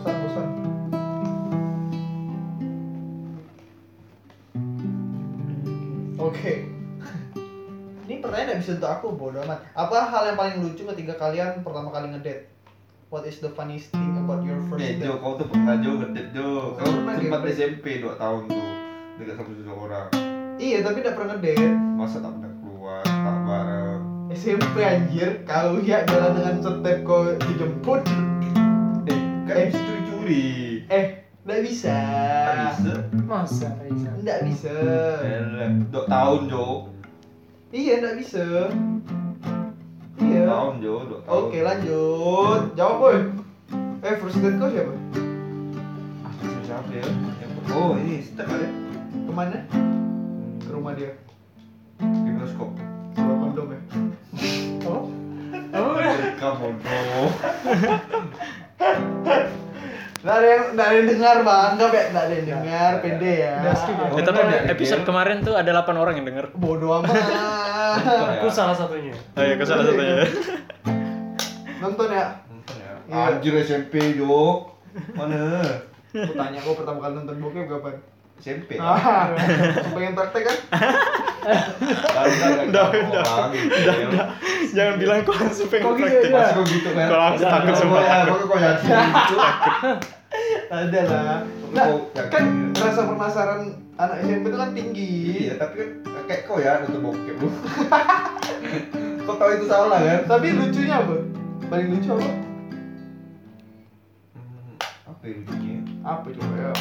[SPEAKER 2] Bosan, bosan. Oke. Ini pertanyaan gak bisa untuk aku, bodo amat. Apa hal yang paling lucu ketika kalian pertama kali ngedate? What is the funniest thing about your first
[SPEAKER 3] Eh,
[SPEAKER 2] date?
[SPEAKER 3] Jo, kau tuh pernah Jo ngedate Jo Kau
[SPEAKER 2] Pernah,
[SPEAKER 3] sempat
[SPEAKER 2] Jo.
[SPEAKER 3] SMP 2 tahun tuh Dekat sama seseorang
[SPEAKER 2] Iya, tapi gak pernah ngedate.
[SPEAKER 3] Masa tak pernah keluar, tak bareng
[SPEAKER 2] SMP anjir, kau ya jalan dengan step kau dijemput.
[SPEAKER 3] Eh, kan
[SPEAKER 2] Eh.
[SPEAKER 3] bisa curi-curi
[SPEAKER 2] Eh, nggak bisa.
[SPEAKER 3] Tak
[SPEAKER 2] Ya.
[SPEAKER 3] bisa Eh.
[SPEAKER 4] masa Raisa
[SPEAKER 2] Nggak bisa.
[SPEAKER 3] Elah, 2 tahun Jo
[SPEAKER 2] Iya, nggak bisa.
[SPEAKER 3] 2
[SPEAKER 2] Iya.
[SPEAKER 3] tahun Jo, 2 tahun
[SPEAKER 2] Oke, lanjut. Jawab, boy. Eh, first date kau siapa?
[SPEAKER 3] Ah, Siapa ya? Yang- Oh, ini step ada
[SPEAKER 2] Kemana? Ke rumah dia.
[SPEAKER 3] Di bioskop
[SPEAKER 2] Sewa kondom ya. Oh? ya.
[SPEAKER 3] Mereka bodoh
[SPEAKER 2] Nggak ada yang, nggak ada yang dengar, bang. Nggak, Bek. nggak ada yang dengar. Pede ya.
[SPEAKER 4] Udah, skip ya.
[SPEAKER 1] Eh, tapi
[SPEAKER 2] iya.
[SPEAKER 1] episode kemarin tuh ada 8 orang yang denger
[SPEAKER 2] Bodoh amat.
[SPEAKER 4] aku salah satunya
[SPEAKER 1] oh iya kesalahan satunya
[SPEAKER 2] Nonton ya. Iya.
[SPEAKER 3] Anjir SMP Jo Mana?
[SPEAKER 2] Aku tanya kau pertama kali nonton bokep kapan?
[SPEAKER 3] SMP
[SPEAKER 2] Ah, pengen praktek kan?
[SPEAKER 3] Udah, udah, udah.
[SPEAKER 1] jangan bilang kok langsung pengen
[SPEAKER 2] Kok
[SPEAKER 1] praktik
[SPEAKER 2] gitu ya?
[SPEAKER 3] Masih kok gitu kan?
[SPEAKER 1] Kalau aku takut sumpah,
[SPEAKER 3] Ya,
[SPEAKER 1] takut.
[SPEAKER 3] Aku kok yakin gitu.
[SPEAKER 2] Ada lah. Nah, kan rasa penasaran anak SMP itu kan tinggi.
[SPEAKER 3] Iya, tapi kan kayak kau ya nonton bokep lu. Kau tahu itu salah kan?
[SPEAKER 2] Tapi lucunya apa? Paling lucu apa?
[SPEAKER 3] Hmm, Apa ya lucunya?
[SPEAKER 2] Apa coba ya?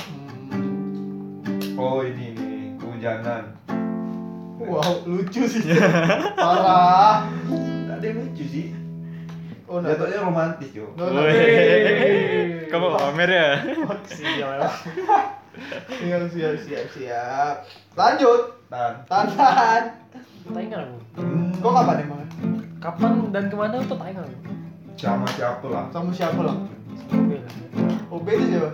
[SPEAKER 3] Oh ini ini kehujanan.
[SPEAKER 2] Wow, Ya. lucu sih. Parah.
[SPEAKER 3] Tidak ada yang lucu sih.
[SPEAKER 2] Oh, nah.
[SPEAKER 3] Jatuhnya romantis yo.
[SPEAKER 2] No, no. iya.
[SPEAKER 1] Wih, kamu pamer ya
[SPEAKER 2] Siap, siap, siap, siap. Lanjut.
[SPEAKER 3] Tan.
[SPEAKER 2] Tantan.
[SPEAKER 4] tanya aku
[SPEAKER 3] Hmm,
[SPEAKER 2] Kok kapan emang?
[SPEAKER 4] kapan dan kemana tuh tanya aku
[SPEAKER 3] Sama siapa lah?
[SPEAKER 2] Sama siapa lah?
[SPEAKER 4] mobil
[SPEAKER 2] OB itu siapa?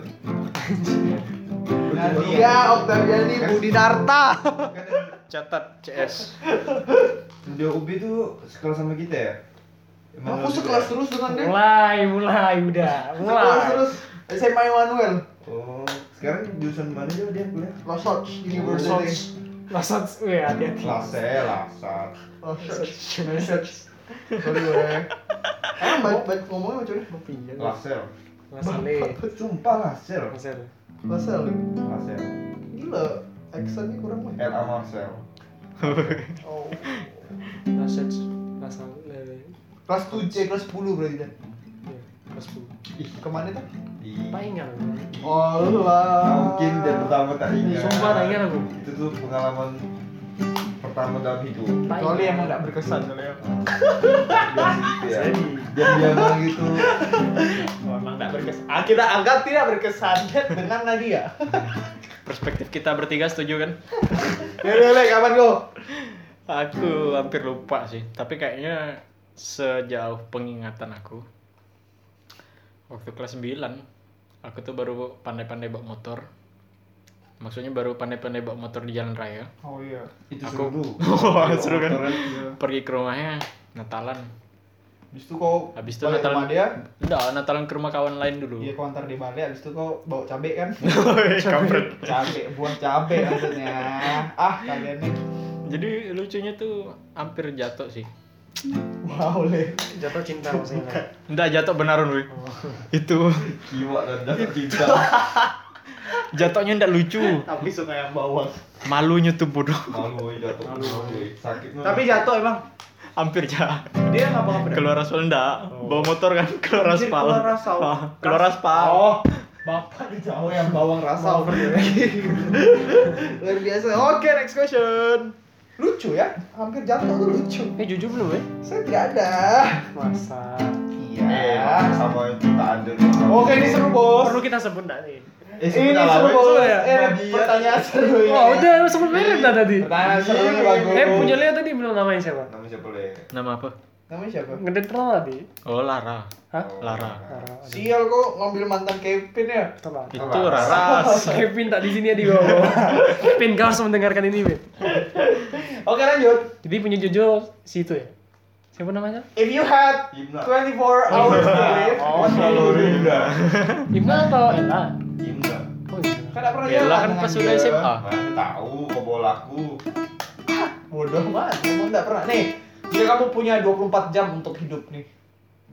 [SPEAKER 3] Lucu
[SPEAKER 2] Nadia Oktaviani Budi Narta.
[SPEAKER 1] catat CS
[SPEAKER 3] banget. Dia Ubi tuh sekelas sama kita ya? Emang
[SPEAKER 2] Aku
[SPEAKER 3] lu
[SPEAKER 2] sekelas
[SPEAKER 3] gitu ya?
[SPEAKER 2] terus dengan dia.
[SPEAKER 4] mulai mulai udah
[SPEAKER 2] Sekolah
[SPEAKER 4] mulai
[SPEAKER 2] terus SMA Emmanuel,
[SPEAKER 3] Oh, sekarang jurusan mana Jo dia kuliah?
[SPEAKER 2] Los Angeles
[SPEAKER 4] Research.
[SPEAKER 2] University.
[SPEAKER 4] Lasat, weh hati-hati.
[SPEAKER 3] Lase, lasat.
[SPEAKER 2] Los Angeles. Sorry gue. Emang baik baik ngomongnya macam mana?
[SPEAKER 4] Kopinya.
[SPEAKER 3] Lasel.
[SPEAKER 4] Lasale.
[SPEAKER 3] Sumpah Lasel.
[SPEAKER 4] Lasale.
[SPEAKER 2] Lasel.
[SPEAKER 3] Lasel.
[SPEAKER 2] Gila, aksennya kurang lah.
[SPEAKER 3] El Amasel.
[SPEAKER 2] Oh.
[SPEAKER 4] Lasat. Lasale.
[SPEAKER 2] Kelas 7, eh, kelas 10 berarti dah.
[SPEAKER 4] Ya, Kelas 10.
[SPEAKER 2] Kemana tuh?
[SPEAKER 4] Taingan. eh.
[SPEAKER 2] Allah.
[SPEAKER 3] Mungkin dia pertama tak ingat.
[SPEAKER 4] Sumpah taingan aku.
[SPEAKER 3] Itu tuh pengalaman pertama dalam hidup.
[SPEAKER 4] Taingan.
[SPEAKER 2] Kecuali emang nggak berkesan kali
[SPEAKER 3] Dia
[SPEAKER 2] ya.
[SPEAKER 3] gitu ya. Diam-diam gitu.
[SPEAKER 1] emang nggak berkesan
[SPEAKER 2] Ah, kita anggap tidak berkesan dengan Nadia.
[SPEAKER 1] perspektif kita bertiga setuju kan
[SPEAKER 2] Lele, lele, Ya, kapan kau?
[SPEAKER 1] Aku hampir lupa sih, tapi kayaknya sejauh pengingatan aku waktu kelas 9 aku tuh baru pandai-pandai bawa motor. Maksudnya baru pandai-pandai bawa motor di jalan raya.
[SPEAKER 2] Oh iya.
[SPEAKER 3] Itu
[SPEAKER 1] Aku-
[SPEAKER 3] seru.
[SPEAKER 1] Wah, seru kan?
[SPEAKER 3] Motoran.
[SPEAKER 1] Pergi ke rumahnya Natalan.
[SPEAKER 2] Habis itu kau
[SPEAKER 1] Habis itu
[SPEAKER 2] balik
[SPEAKER 1] Natalan.
[SPEAKER 2] rumah dia, Iya.
[SPEAKER 1] Enggak, Natalan ke rumah kawan lain dulu.
[SPEAKER 2] dia kau antar dia balik, habis itu kau bawa cabai kan?
[SPEAKER 1] Woi, kampret.
[SPEAKER 2] cabe buah cabe maksudnya ah kalian nih
[SPEAKER 1] Jadi lucunya tuh hampir jatuh sih.
[SPEAKER 2] wow le
[SPEAKER 4] Jatuh cinta maksudnya.
[SPEAKER 1] Enggak jatuh beneran, woi. Itu
[SPEAKER 3] Kiwa dan jatuh cinta.
[SPEAKER 1] jatuhnya enggak lucu.
[SPEAKER 2] tapi suka yang bawang
[SPEAKER 1] Malunya tuh bodoh.
[SPEAKER 3] Malu woy, jatuh. woy. Sakit banget.
[SPEAKER 2] tapi jatuh emang
[SPEAKER 1] Hampir jatuh.
[SPEAKER 2] dia ngapa ngapa
[SPEAKER 1] keluar aspal enggak bawa motor kan keluar
[SPEAKER 2] Anjir,
[SPEAKER 1] aspal
[SPEAKER 2] keluar aspal.
[SPEAKER 1] Ah, keluar aspal
[SPEAKER 2] oh bapak jauh yang bawang rasa luar biasa oke next question lucu ya hampir jatuh tuh lucu
[SPEAKER 4] Eh jujur Eh, belum ya?
[SPEAKER 2] saya tidak ada
[SPEAKER 4] Masa.
[SPEAKER 2] iya
[SPEAKER 3] Iya, sama yang kita ada.
[SPEAKER 2] Oke, ini seru, Bos.
[SPEAKER 4] Perlu kita sebut nggak nih?
[SPEAKER 3] Eh,
[SPEAKER 2] Ini
[SPEAKER 3] sebentar,
[SPEAKER 2] seru,
[SPEAKER 3] Bang.
[SPEAKER 2] Bos.
[SPEAKER 4] ya?
[SPEAKER 2] Eh,
[SPEAKER 3] Bagian.
[SPEAKER 2] pertanyaan seru ini.
[SPEAKER 4] Oh, udah sebut merek dah tadi.
[SPEAKER 2] Pertanyaan seru ini bagus.
[SPEAKER 4] Eh, punya Leo tadi belum namanya siapa?
[SPEAKER 3] Nama siapa le?
[SPEAKER 1] Nama apa?
[SPEAKER 2] iya. Namanya siapa?
[SPEAKER 4] Ngedit Lara tadi.
[SPEAKER 1] Oh Lara.
[SPEAKER 4] Hah?
[SPEAKER 3] Oh,
[SPEAKER 1] Lara.
[SPEAKER 4] Lara. aduh,
[SPEAKER 2] Sial kok ngambil mantan Kevin ya?
[SPEAKER 4] telat.
[SPEAKER 1] Itu Raras.
[SPEAKER 4] Kevin tak di sini ya di bawah. Pin kau harus mendengarkan ini, Pin.
[SPEAKER 2] Oke, lanjut.
[SPEAKER 4] Jadi punya Jojo si itu ya. Siapa namanya?
[SPEAKER 2] If you had
[SPEAKER 3] Gimna.
[SPEAKER 2] 24 hours to live,
[SPEAKER 3] Oh, selalu Rinda.
[SPEAKER 4] Imna atau Ella?
[SPEAKER 3] Gimna.
[SPEAKER 4] Oh, iya.
[SPEAKER 2] kan tak pernah
[SPEAKER 1] Bella
[SPEAKER 2] jalan
[SPEAKER 1] kan
[SPEAKER 2] dengan
[SPEAKER 1] pas
[SPEAKER 2] dia.
[SPEAKER 1] udah SMA.
[SPEAKER 3] Mana tahu kobol aku.
[SPEAKER 2] Bodoh banget, emang tak pernah. Nih, jika kamu punya 24 jam untuk hidup nih,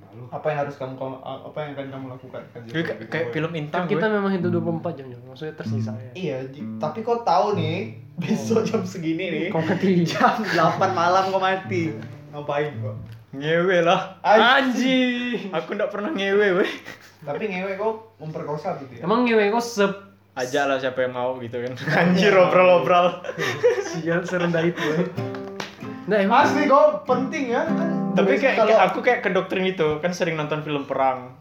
[SPEAKER 3] Malu.
[SPEAKER 2] apa yang harus kamu eh, apa yang akan kamu lakukan?
[SPEAKER 1] Gue kayak- kayak film
[SPEAKER 4] Kan
[SPEAKER 1] Intan
[SPEAKER 4] kita
[SPEAKER 1] gue.
[SPEAKER 4] memang hidup 24 jam, Jom. maksudnya tersisa ya.
[SPEAKER 2] Iya, Ji. tapi kau tahu nih, besok jam segini nih,
[SPEAKER 4] Kau mati.
[SPEAKER 2] jam 8 malam kau mati. Ngapain kok?
[SPEAKER 1] Ngewe lah.
[SPEAKER 2] Anjing.
[SPEAKER 1] Aku ndak pernah ngewe weh.
[SPEAKER 2] Tapi ngewe kok memperkosa gitu ya.
[SPEAKER 4] Emang ngewe kok sep
[SPEAKER 1] Ajak lah siapa yang mau gitu kan. Anjir obrol-obrol.
[SPEAKER 4] sial serendah itu. ya. Nah, emang
[SPEAKER 2] Asli kok penting ya. Kan
[SPEAKER 1] Tapi
[SPEAKER 2] biasa
[SPEAKER 1] kayak
[SPEAKER 2] kalau
[SPEAKER 1] aku kayak ke doktrin itu kan sering nonton film perang.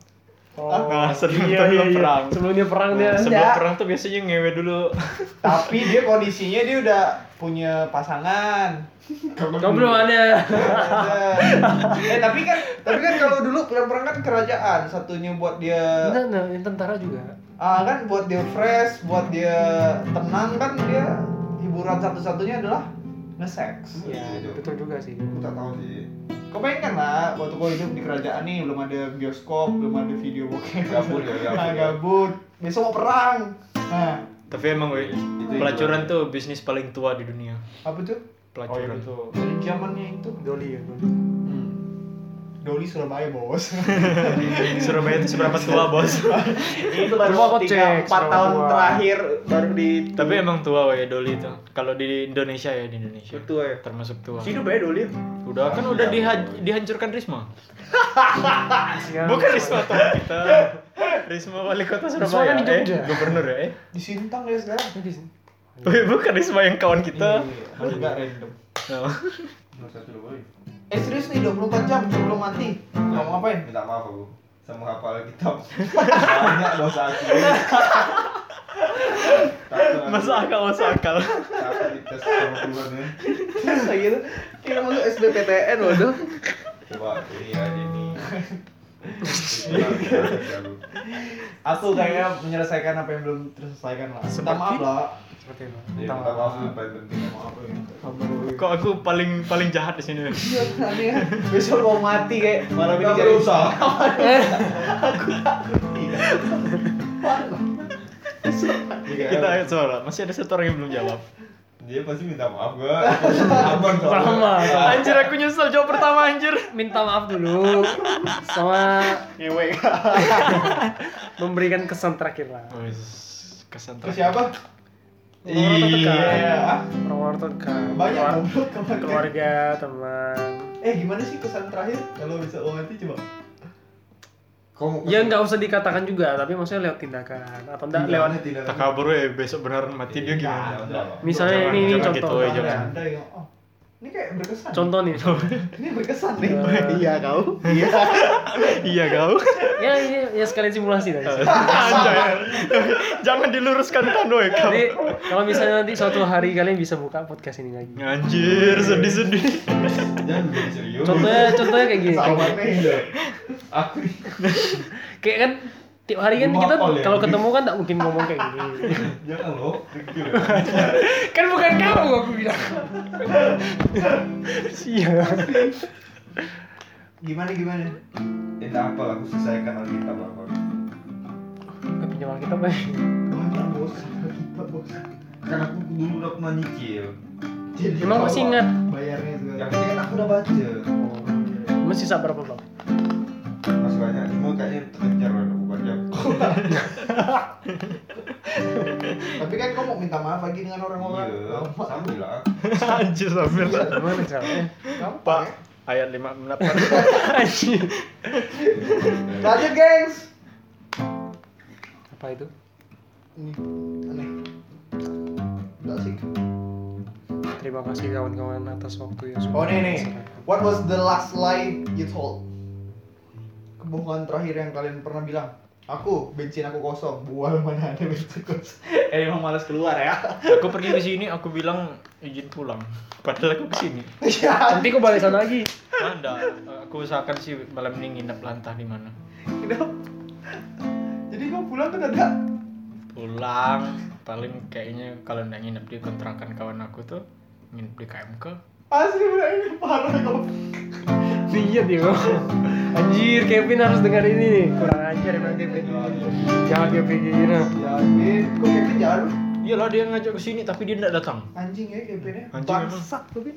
[SPEAKER 4] Oh, iya.
[SPEAKER 1] Nah, sebelum dia perang. Nah,
[SPEAKER 4] Sebelum dia perang dia. Nah,
[SPEAKER 1] Sebelum
[SPEAKER 2] enggak.
[SPEAKER 1] perang tuh biasanya ngewe dulu.
[SPEAKER 2] tapi dia kondisinya dia udah punya pasangan.
[SPEAKER 4] Kau belum ada.
[SPEAKER 2] eh tapi kan tapi kan kalau dulu perang-perang kan kerajaan satunya buat dia
[SPEAKER 4] Enggak, nah, yang tentara juga.
[SPEAKER 2] ah kan buat dia fresh buat dia tenang kan dia hiburan satu-satunya adalah nge-sex
[SPEAKER 4] Iya, betul juga sih.
[SPEAKER 3] Aku tak tahu sih.
[SPEAKER 2] kau pengen kan lah waktu kau hidup di kerajaan nih belum ada bioskop belum ada video bokeh
[SPEAKER 3] Gabut ya, gabut.
[SPEAKER 2] Nah, gabut besok mau perang nah
[SPEAKER 1] Tapi emang weh,
[SPEAKER 3] Itu
[SPEAKER 1] pelacuran
[SPEAKER 3] hiburan.
[SPEAKER 1] tuh bisnis paling tua di dunia.
[SPEAKER 2] apa tuh Oh, iya,
[SPEAKER 1] Pelacuran.
[SPEAKER 2] dari zamannya itu
[SPEAKER 4] Doli ya, Doli.
[SPEAKER 2] Doli Surabaya bos
[SPEAKER 1] Surabaya itu seberapa tua, Bos?
[SPEAKER 2] itu
[SPEAKER 4] Coba kau cek, Surabaya.
[SPEAKER 2] baru di
[SPEAKER 1] Tapi emang tua weh Doli itu. Kalau di Indonesia ya di Indonesia.
[SPEAKER 2] Tua ya?
[SPEAKER 1] Termasuk tua.
[SPEAKER 2] hidup aja Doli
[SPEAKER 1] Udah kan udah diha- dihancurkan Risma.
[SPEAKER 4] Sial.
[SPEAKER 1] Bukan Risma teman kita. Risma wali kota Surabaya.
[SPEAKER 4] kan di Jogja.
[SPEAKER 1] Eh, gubernur ya. Eh.
[SPEAKER 2] di Sintang ya sekarang
[SPEAKER 4] Ini di sini.
[SPEAKER 1] Wih, bukan Risma yang kawan
[SPEAKER 3] Iya,
[SPEAKER 1] kita.
[SPEAKER 2] Enggak random.
[SPEAKER 1] Nah,
[SPEAKER 3] Nomor satu dulu, boy.
[SPEAKER 2] Eh serius nih 24 jam sebelum mati. Mau ngapain?
[SPEAKER 3] Minta maaf aku sama hafal kitab. Banyak dosa aku. Takut aku-
[SPEAKER 1] Masa akal masa akal.
[SPEAKER 3] takut dites sama Tuhan ya.
[SPEAKER 2] Bisa gitu. Kita masuk SBPTN waduh.
[SPEAKER 3] Coba ini ya ini. Iya. Aku.
[SPEAKER 2] Aku kayaknya menyelesaikan apa yang belum terselesaikan lah. Minta maaf lah.
[SPEAKER 4] Seperti itu.
[SPEAKER 3] Jadi
[SPEAKER 4] Entah.
[SPEAKER 3] minta maaf yang paling penting sama apa ini.
[SPEAKER 1] Kok aku paling paling jahat di sini.
[SPEAKER 2] Iya kan aneh ya. Besok mau mati kayak malam ini
[SPEAKER 3] Nggak
[SPEAKER 2] jadi
[SPEAKER 3] berusaha. Iya.
[SPEAKER 1] Kita ayo suara. Masih ada satu orang yang belum jawab.
[SPEAKER 3] Dia pasti minta maaf gua. Abang soalnya.
[SPEAKER 4] Sama, sama.
[SPEAKER 1] Anjir aku nyesel jawab pertama anjir.
[SPEAKER 4] Minta maaf dulu sama
[SPEAKER 1] Ngewe.
[SPEAKER 4] memberikan kesan terakhir lah.
[SPEAKER 1] Kesan terakhir.
[SPEAKER 2] Terus siapa?
[SPEAKER 4] Orang-orang
[SPEAKER 2] Iya.
[SPEAKER 4] terdekat. Orang-orang terdekat.
[SPEAKER 2] Banyak
[SPEAKER 4] Keluar-
[SPEAKER 2] goblok kemarin.
[SPEAKER 4] keluarga, teman.
[SPEAKER 2] Eh gimana sih kesan terakhir kalau besok mau mati coba?
[SPEAKER 3] Kamu
[SPEAKER 4] Ya nggak usah dikatakan juga, tapi maksudnya lewat tindakan atau enggak
[SPEAKER 1] Iya.
[SPEAKER 4] lewat
[SPEAKER 3] lewat tidak.
[SPEAKER 1] Tak kabur ya besok beneran mati dia
[SPEAKER 3] Jangan,
[SPEAKER 1] gimana?
[SPEAKER 3] jangan.
[SPEAKER 4] Misalnya
[SPEAKER 1] Jangan,
[SPEAKER 4] ini, ini
[SPEAKER 1] jangan
[SPEAKER 4] contoh.
[SPEAKER 1] gitu, eh, jangan.
[SPEAKER 2] Ada yang oh. Ini kayak berkesan.
[SPEAKER 4] Contoh nih.
[SPEAKER 2] Ini berkesan nih.
[SPEAKER 4] Eh.
[SPEAKER 2] Iya kau. Iya.
[SPEAKER 1] Iya kau.
[SPEAKER 4] ya, ya, ya sekalian simulasi tadi.
[SPEAKER 1] Anjay. Jangan diluruskan kan weh kau.
[SPEAKER 4] Jadi kalau misalnya nanti suatu hari kalian bisa buka podcast ini lagi.
[SPEAKER 1] Anjir, sedih-sedih.
[SPEAKER 3] Jangan bikin serius.
[SPEAKER 4] Contohnya contohnya kayak gini.
[SPEAKER 2] Sama nih.
[SPEAKER 3] Aku nih.
[SPEAKER 4] Kayak kan tiap hari kan
[SPEAKER 3] Ngomong
[SPEAKER 4] kita
[SPEAKER 3] apa ya?
[SPEAKER 4] kalau ketemu kan tak mungkin ngomong kayak gini.
[SPEAKER 3] Jangan Ya lo. Rikir.
[SPEAKER 4] kan bukan kamu aku bilang. Iya.
[SPEAKER 2] Gimana gimana?
[SPEAKER 3] Tidak apa aku selesaikan oleh kita bapak.
[SPEAKER 4] Pinjam kita apa?
[SPEAKER 2] Banyak bos. Kita bos.
[SPEAKER 3] Kan aku dulu udah pernah nyicil.
[SPEAKER 2] Jadi
[SPEAKER 4] Emang
[SPEAKER 2] bawa
[SPEAKER 4] masih ingat?
[SPEAKER 2] Bayarnya
[SPEAKER 3] Yang
[SPEAKER 2] segala.
[SPEAKER 3] penting kan aku udah baca.
[SPEAKER 4] Masih sisa berapa bang?
[SPEAKER 3] Masih banyak. Cuma kayaknya terkejar oleh aku baca.
[SPEAKER 2] Tapi kan kau mau minta maaf lagi dengan orang-orang.
[SPEAKER 3] Iya.
[SPEAKER 2] Lama.
[SPEAKER 3] Sambil lah.
[SPEAKER 1] Anjir sambil.
[SPEAKER 4] Gimana caranya?
[SPEAKER 2] Gampang,
[SPEAKER 1] Pak,
[SPEAKER 2] ya?
[SPEAKER 1] ayat 5 menit.
[SPEAKER 4] Anjir.
[SPEAKER 2] Lanjut gengs.
[SPEAKER 4] Apa itu?
[SPEAKER 2] Ini aneh. Enggak sih.
[SPEAKER 4] Terima kasih kawan-kawan Oh, atas waktu yang sudah
[SPEAKER 2] Oh nih nih.
[SPEAKER 4] diserahkan.
[SPEAKER 2] What was the last lie you told? bohongan terakhir yang kalian pernah bilang? Aku bensin aku kosong. Bual mana ada bensin kosong.
[SPEAKER 5] eh, emang malas keluar ya
[SPEAKER 1] aku pergi ke sini aku bilang izin pulang padahal aku ke sini
[SPEAKER 2] Iya.
[SPEAKER 4] Nanti aku balik sana lagi.
[SPEAKER 1] ada aku usahakan sih malam ini nginep lantah di mana
[SPEAKER 2] Kenapa? Jadi kau pulang tuh ada
[SPEAKER 1] pulang paling kayaknya kalau nggak nginep di kontrakan kawan aku tuh nginep di KMK
[SPEAKER 2] asli udah ini parah kau.
[SPEAKER 4] Iya dia. Anjir, Kevin harus dengar ini nih. Kurang ajar emang Kevin. Jangan Kevin gini.
[SPEAKER 2] Jadi Ya, kok Kevin jalan?
[SPEAKER 1] iyalah dia ngajak ke sini tapi dia nggak datang
[SPEAKER 2] Anjing ya Kevin ya.
[SPEAKER 1] Anjing emang.
[SPEAKER 2] Bangsat Kevin.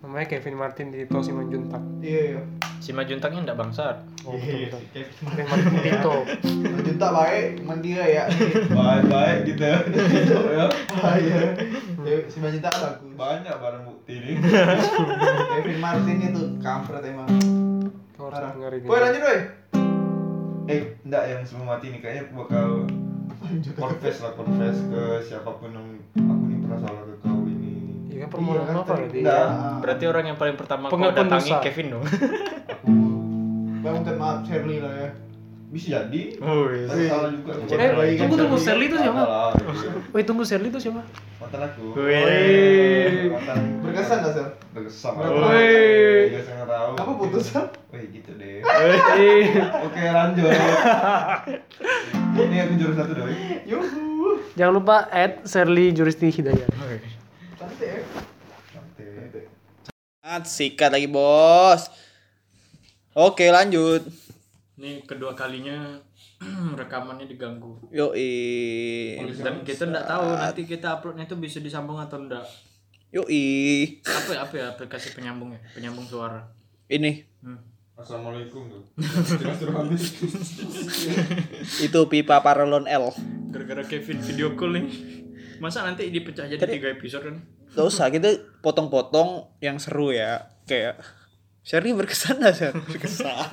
[SPEAKER 4] Namanya Kevin Martin Dito Simanjuntak.
[SPEAKER 2] Iya iya.
[SPEAKER 1] si Majuntaknya nggak bangsat
[SPEAKER 4] Oh, betul betul. Kevin Martin Dito.
[SPEAKER 2] Juta baik mandiri ya.
[SPEAKER 3] Baik-baik gitu ya.
[SPEAKER 2] Bahaya. Si Juta bagus.
[SPEAKER 3] Banyak barang bukti nih.
[SPEAKER 2] Kevin Martin itu kampret emang.
[SPEAKER 4] Kau harus
[SPEAKER 2] Parah.
[SPEAKER 4] dengar ini. Iya
[SPEAKER 2] Woi lanjut woi.
[SPEAKER 3] eh, enggak yang sebelum mati nih kayaknya aku bakal confess lah confess ke siapapun yang aku nih pernah salah ke kau ini.
[SPEAKER 4] Iya kan permohonan apa tadi?
[SPEAKER 3] Enggak.
[SPEAKER 1] berarti orang yang paling pertama kau
[SPEAKER 4] Pengakuan
[SPEAKER 1] datangi
[SPEAKER 4] dosa.
[SPEAKER 1] Kevin dong
[SPEAKER 3] Aku
[SPEAKER 2] Bang minta maaf Shirley lah ya.
[SPEAKER 3] bisa jadi
[SPEAKER 1] Woi,
[SPEAKER 3] tapi salah juga. aku.
[SPEAKER 1] Eh,
[SPEAKER 3] Baik,
[SPEAKER 4] tunggu,
[SPEAKER 3] kan,
[SPEAKER 4] tunggu,
[SPEAKER 3] jadi
[SPEAKER 4] Shirley itu
[SPEAKER 3] salah
[SPEAKER 4] siapa?
[SPEAKER 3] lah, gitu.
[SPEAKER 4] Woi tunggu Shirley itu siapa?
[SPEAKER 3] Mantan aku.
[SPEAKER 1] Wih.
[SPEAKER 3] Mantan.
[SPEAKER 2] Berkesan gak sih?
[SPEAKER 3] Berkesan.
[SPEAKER 1] Wih.
[SPEAKER 3] Berkesan tahu.
[SPEAKER 2] Apa putus? Sel?
[SPEAKER 3] Wih, gitu deh.
[SPEAKER 1] Woi.
[SPEAKER 3] Oke, lanjut. Ini aku jurus satu doi.
[SPEAKER 2] Yuhu.
[SPEAKER 4] Jangan lupa add Shirley Juristi Hidayat.
[SPEAKER 1] Woi.
[SPEAKER 2] Cantik ya.
[SPEAKER 3] Cantik.
[SPEAKER 5] sikat lagi bos oke lanjut
[SPEAKER 1] Ini kedua kalinya rekamannya diganggu. eh,
[SPEAKER 5] yoi
[SPEAKER 1] Dan Iya, kita nggak tahu nanti kita uploadnya itu bisa disambung atau enggak.
[SPEAKER 5] yoi
[SPEAKER 1] Apa apa ya aplikasi penyambung ya? Penyambung suara.
[SPEAKER 5] ini
[SPEAKER 1] Hmm.
[SPEAKER 3] Assalamualaikum tuh. Silaturahmi.
[SPEAKER 5] itu pipa paralon L
[SPEAKER 1] Gara-gara Kevin video call nih. Masa nanti dipecah jadi tiga episode kan?
[SPEAKER 5] Gak usah, kita potong-potong yang seru ya. Kayak Sherry berkesan gak Sher? Berkesan.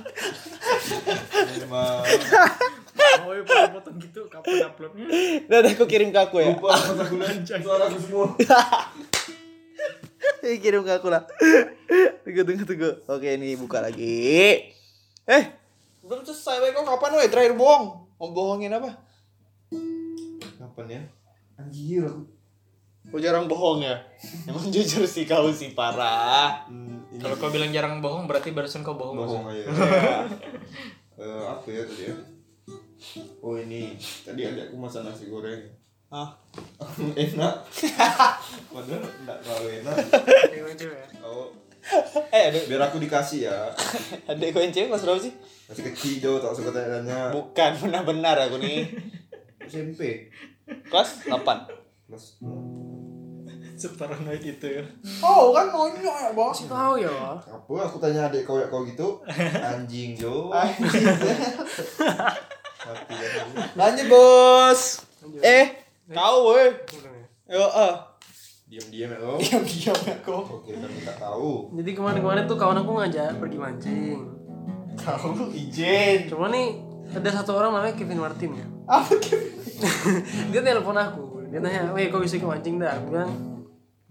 [SPEAKER 3] Emang.
[SPEAKER 1] Oh, iya, potong-potong gitu kapan uploadnya?
[SPEAKER 5] Dadah aku kirim ke aku ya.
[SPEAKER 3] Lupa masa kuliah. Suara aku semua.
[SPEAKER 5] Ih, kirim ke aku lah. Tunggu, tunggu, tunggu. Oke, ini buka lagi. Eh, belum selesai. Weh, kok kapan weh? Terakhir bohong. Mau bohongin apa?
[SPEAKER 3] Kapan ya?
[SPEAKER 2] Anjir aku.
[SPEAKER 5] Kok jarang bohong ya? Emang jujur sih kau sih, parah.
[SPEAKER 3] Hmm, ini
[SPEAKER 1] Kalau kau bilang jarang bohong berarti barusan kau bohong.
[SPEAKER 3] bohong aja. Eh, apa ya tadi ya? Oh ini, tadi adik aku masak nasi goreng.
[SPEAKER 5] Hah?
[SPEAKER 3] enak. Padahal enggak terlalu enak. Oh,
[SPEAKER 5] Eh, adek,
[SPEAKER 3] biar aku dikasih ya.
[SPEAKER 5] adek kau yang cewek kelas berapa sih?
[SPEAKER 3] Masih kecil jauh tak suka tanya
[SPEAKER 5] Bukan, benar-benar aku nih.
[SPEAKER 3] SMP.
[SPEAKER 5] Kelas 8.
[SPEAKER 3] Mas,
[SPEAKER 1] Separanoid itu ya.
[SPEAKER 2] Oh kan monyok ya bos.
[SPEAKER 4] Tahu ya.
[SPEAKER 3] apa aku tanya adik kau kau gitu? Anjing jo. Mati kan aku.
[SPEAKER 5] Lanjut bos. Eh, kau weh. Yo, eh.
[SPEAKER 3] Diam-diam ya kau.
[SPEAKER 5] diam ya kau.
[SPEAKER 3] Oke, kan kita tahu.
[SPEAKER 4] Jadi kemarin-kemarin tuh kawan aku ngajak pergi mancing.
[SPEAKER 5] Kau izin.
[SPEAKER 4] Cuma nih ada satu orang namanya Kevin Martin ya.
[SPEAKER 5] Apa Kevin?
[SPEAKER 4] dia telepon aku. Dia nanya, "Weh, kok bisa ke mancing dah?" Aku bilang,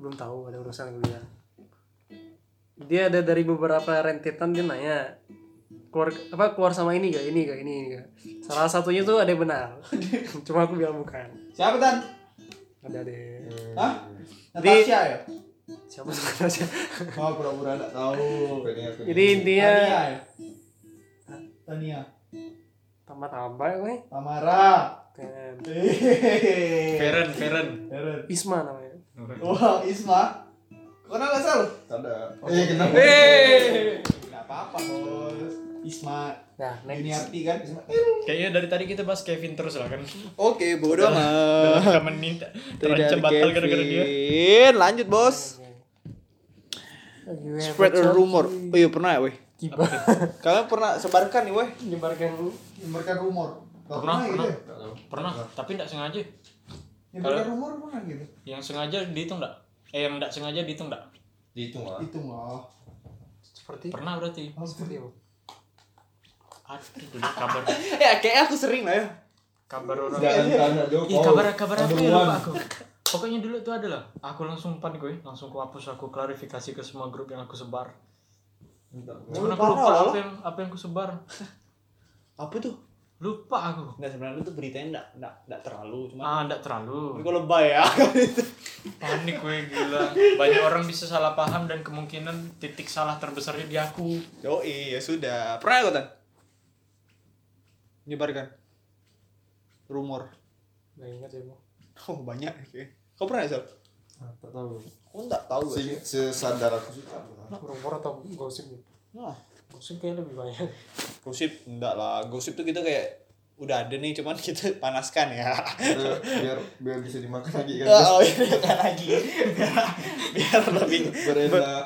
[SPEAKER 4] "Belum tahu, ada urusan kuliah." Dia ada dari beberapa rentetan dia nanya, keluar apa keluar sama ini gak ini gak ini, ini gak salah satunya tuh ada yang benar cuma aku bilang bukan
[SPEAKER 2] Siapa tan?
[SPEAKER 4] ada deh
[SPEAKER 2] Hah?
[SPEAKER 4] Di-
[SPEAKER 2] Natasha ya?
[SPEAKER 4] siapa sebenarnya
[SPEAKER 2] Oh pura-pura gak tahu.
[SPEAKER 3] Ini aku.
[SPEAKER 4] jadi intinya
[SPEAKER 2] Tania ya? Hah? Tania.
[SPEAKER 4] tambah tambah weh
[SPEAKER 2] Tamara.
[SPEAKER 4] Kan.
[SPEAKER 2] Hehehe.
[SPEAKER 1] Feren, Feren.
[SPEAKER 2] Eren.
[SPEAKER 4] Isma namanya
[SPEAKER 2] Wah Isma. Kenal gak sel?
[SPEAKER 3] Ada. Eh, kenapa?
[SPEAKER 2] Gak apa-apa bos. Oh, Isma.
[SPEAKER 4] Nah, next.
[SPEAKER 2] Juniarti kan? Isma.
[SPEAKER 1] Kayaknya dari tadi kita bahas Kevin terus lah kan.
[SPEAKER 5] Oke, bodoh
[SPEAKER 1] Dalam
[SPEAKER 5] amat.
[SPEAKER 1] rekaman ini
[SPEAKER 5] Tidak ada
[SPEAKER 1] terancam batal gara-gara dia.
[SPEAKER 5] Kevin. Lanjut bos. Spread a rumor. Oh iya pernah ya weh.
[SPEAKER 4] Tiba.
[SPEAKER 5] Kalian pernah sebarkan nih weh.
[SPEAKER 4] Nyebarkan
[SPEAKER 2] Menyebarkan rumor. Gak
[SPEAKER 1] Pernah,
[SPEAKER 2] gitu
[SPEAKER 1] pernah.
[SPEAKER 2] ya?
[SPEAKER 1] Pernah, Ya, tapi tidak sengaja.
[SPEAKER 2] Menyebarkan rumor pernah gitu.
[SPEAKER 1] Yang sengaja dihitung enggak? Eh yang enggak sengaja dihitung enggak?
[SPEAKER 3] Dihitung lah.
[SPEAKER 2] Hitung lah.
[SPEAKER 4] seperti
[SPEAKER 1] Pernah berarti.
[SPEAKER 4] seperti apa?
[SPEAKER 1] Aduh, dulu kabar
[SPEAKER 5] Ya kayak aku sering lah ya.
[SPEAKER 1] kabar orang.
[SPEAKER 3] Jangan
[SPEAKER 4] Iya.
[SPEAKER 3] tanya Jo.
[SPEAKER 1] Ih, kabar kabar apa ya lupa aku. Pokoknya dulu itu adalah aku langsung pan gue, langsung ku hapus, aku klarifikasi ke semua grup yang aku sebar.
[SPEAKER 3] Enggak.
[SPEAKER 1] Cuman aku
[SPEAKER 2] parah
[SPEAKER 1] lupa
[SPEAKER 2] lah lo.
[SPEAKER 1] apa yang, apa yang aku sebar.
[SPEAKER 5] Apa tuh?
[SPEAKER 1] Lupa aku.
[SPEAKER 5] Nah sebenarnya itu beritanya enggak enggak enggak terlalu cuma
[SPEAKER 1] Ah, enggak
[SPEAKER 5] tapi
[SPEAKER 1] terlalu.
[SPEAKER 5] kalau lebay ya.
[SPEAKER 1] Panik gue gila. Banyak orang bisa salah paham dan kemungkinan titik salah terbesarnya di aku.
[SPEAKER 5] Yoi, ya sudah. Pernah nggak, Tan? Nyebarkan. Rumor.
[SPEAKER 4] Gak ingat ya, Bu.
[SPEAKER 5] Oh, banyak. Oke. Kau pernah ya, Sal?
[SPEAKER 3] Ah, Tak tahu.
[SPEAKER 5] Aku nggak tahu.
[SPEAKER 3] Se
[SPEAKER 5] ya.
[SPEAKER 3] sesadar aku sih. tak pernah.
[SPEAKER 4] Rumor atau gosip? ya?
[SPEAKER 5] Nah,
[SPEAKER 4] Gosip kayaknya lebih banyak.
[SPEAKER 5] gosip enggak lah. Gosip tuh kita kayak udah ada nih, cuman kita panaskan ya.
[SPEAKER 3] Biar- biar biar bisa dimakan lagi kan.
[SPEAKER 5] Oh, ini kan lagi. Biar, biar lebih
[SPEAKER 3] Berenak.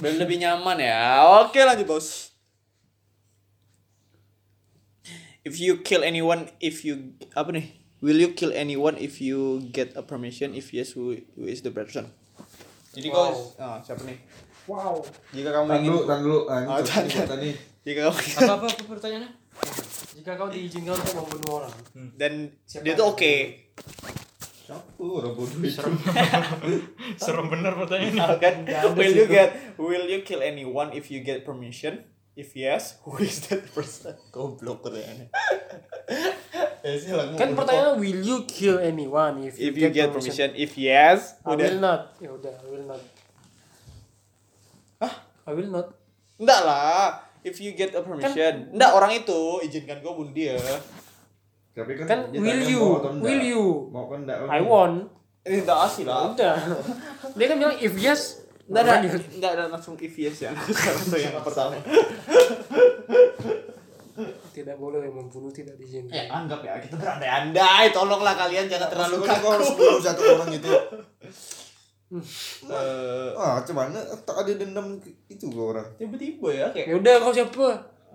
[SPEAKER 5] biar lebih nyaman ya. Oke, lanjut, Bos. If you kill anyone if you apa nih? Will you kill anyone if you get a permission? If yes, who, who is the person? Jadi kau ah, siapa nih?
[SPEAKER 2] Wow.
[SPEAKER 5] Jika kamu
[SPEAKER 3] Tahan
[SPEAKER 5] ingin
[SPEAKER 3] dulu, tahan dulu. Ah, ini
[SPEAKER 4] Oh,
[SPEAKER 5] Ah, tahan,
[SPEAKER 3] cocok nih, tadi.
[SPEAKER 5] jika kamu
[SPEAKER 1] Apa apa, apa pertanyaannya?
[SPEAKER 4] Jika kau diizinkan untuk membunuh orang,
[SPEAKER 5] dan
[SPEAKER 4] Siapa
[SPEAKER 5] dia tuh
[SPEAKER 4] yang-
[SPEAKER 5] oke.
[SPEAKER 3] Siapa orang bodoh itu?
[SPEAKER 1] Serem. Serem bener pertanyaannya.
[SPEAKER 5] Ah, kan?
[SPEAKER 4] Nggak ada
[SPEAKER 5] Will
[SPEAKER 4] sih,
[SPEAKER 5] you
[SPEAKER 4] Bro.
[SPEAKER 5] get will you kill anyone if you get permission? If yes, who is that person? Goblok pertanyaannya. Eh, sih
[SPEAKER 4] kan
[SPEAKER 5] lah, ngomong.
[SPEAKER 4] pertanyaannya will you kill anyone if,
[SPEAKER 5] if you get permission, if yes,
[SPEAKER 4] I will
[SPEAKER 5] udah.
[SPEAKER 4] not. Ya udah, I will not. Hah? I will not.
[SPEAKER 5] Enggak lah. If you get a permission, enggak orang itu izinkan gue bunuh dia.
[SPEAKER 3] Tapi kan,
[SPEAKER 4] Kan
[SPEAKER 3] dia
[SPEAKER 4] will
[SPEAKER 3] tanya
[SPEAKER 4] you?
[SPEAKER 3] mau atau enggak.
[SPEAKER 4] Will you?
[SPEAKER 3] Mau kan enggak?
[SPEAKER 4] I won.
[SPEAKER 5] Ini Eh, enggak asli
[SPEAKER 4] Ya
[SPEAKER 5] lah.
[SPEAKER 4] udah. Dia kan bilang if yes,
[SPEAKER 5] Enggak ada,
[SPEAKER 4] lanjut.
[SPEAKER 5] enggak ada langsung if yes ya. Itu yang pertama.
[SPEAKER 4] tidak boleh membunuh tidak diizinkan.
[SPEAKER 5] Ya anggap ya kita berandai-andai. Tolonglah kalian jangan terlalu
[SPEAKER 3] Maksudnya kau
[SPEAKER 5] kaku.
[SPEAKER 3] harus bunuh satu orang itu.
[SPEAKER 4] Hmm.
[SPEAKER 5] Eh,
[SPEAKER 3] Ah, cuman tak ada dendam ke- itu ke orang.
[SPEAKER 5] tiba-tiba ya kayak
[SPEAKER 4] Ya udah kau siapa?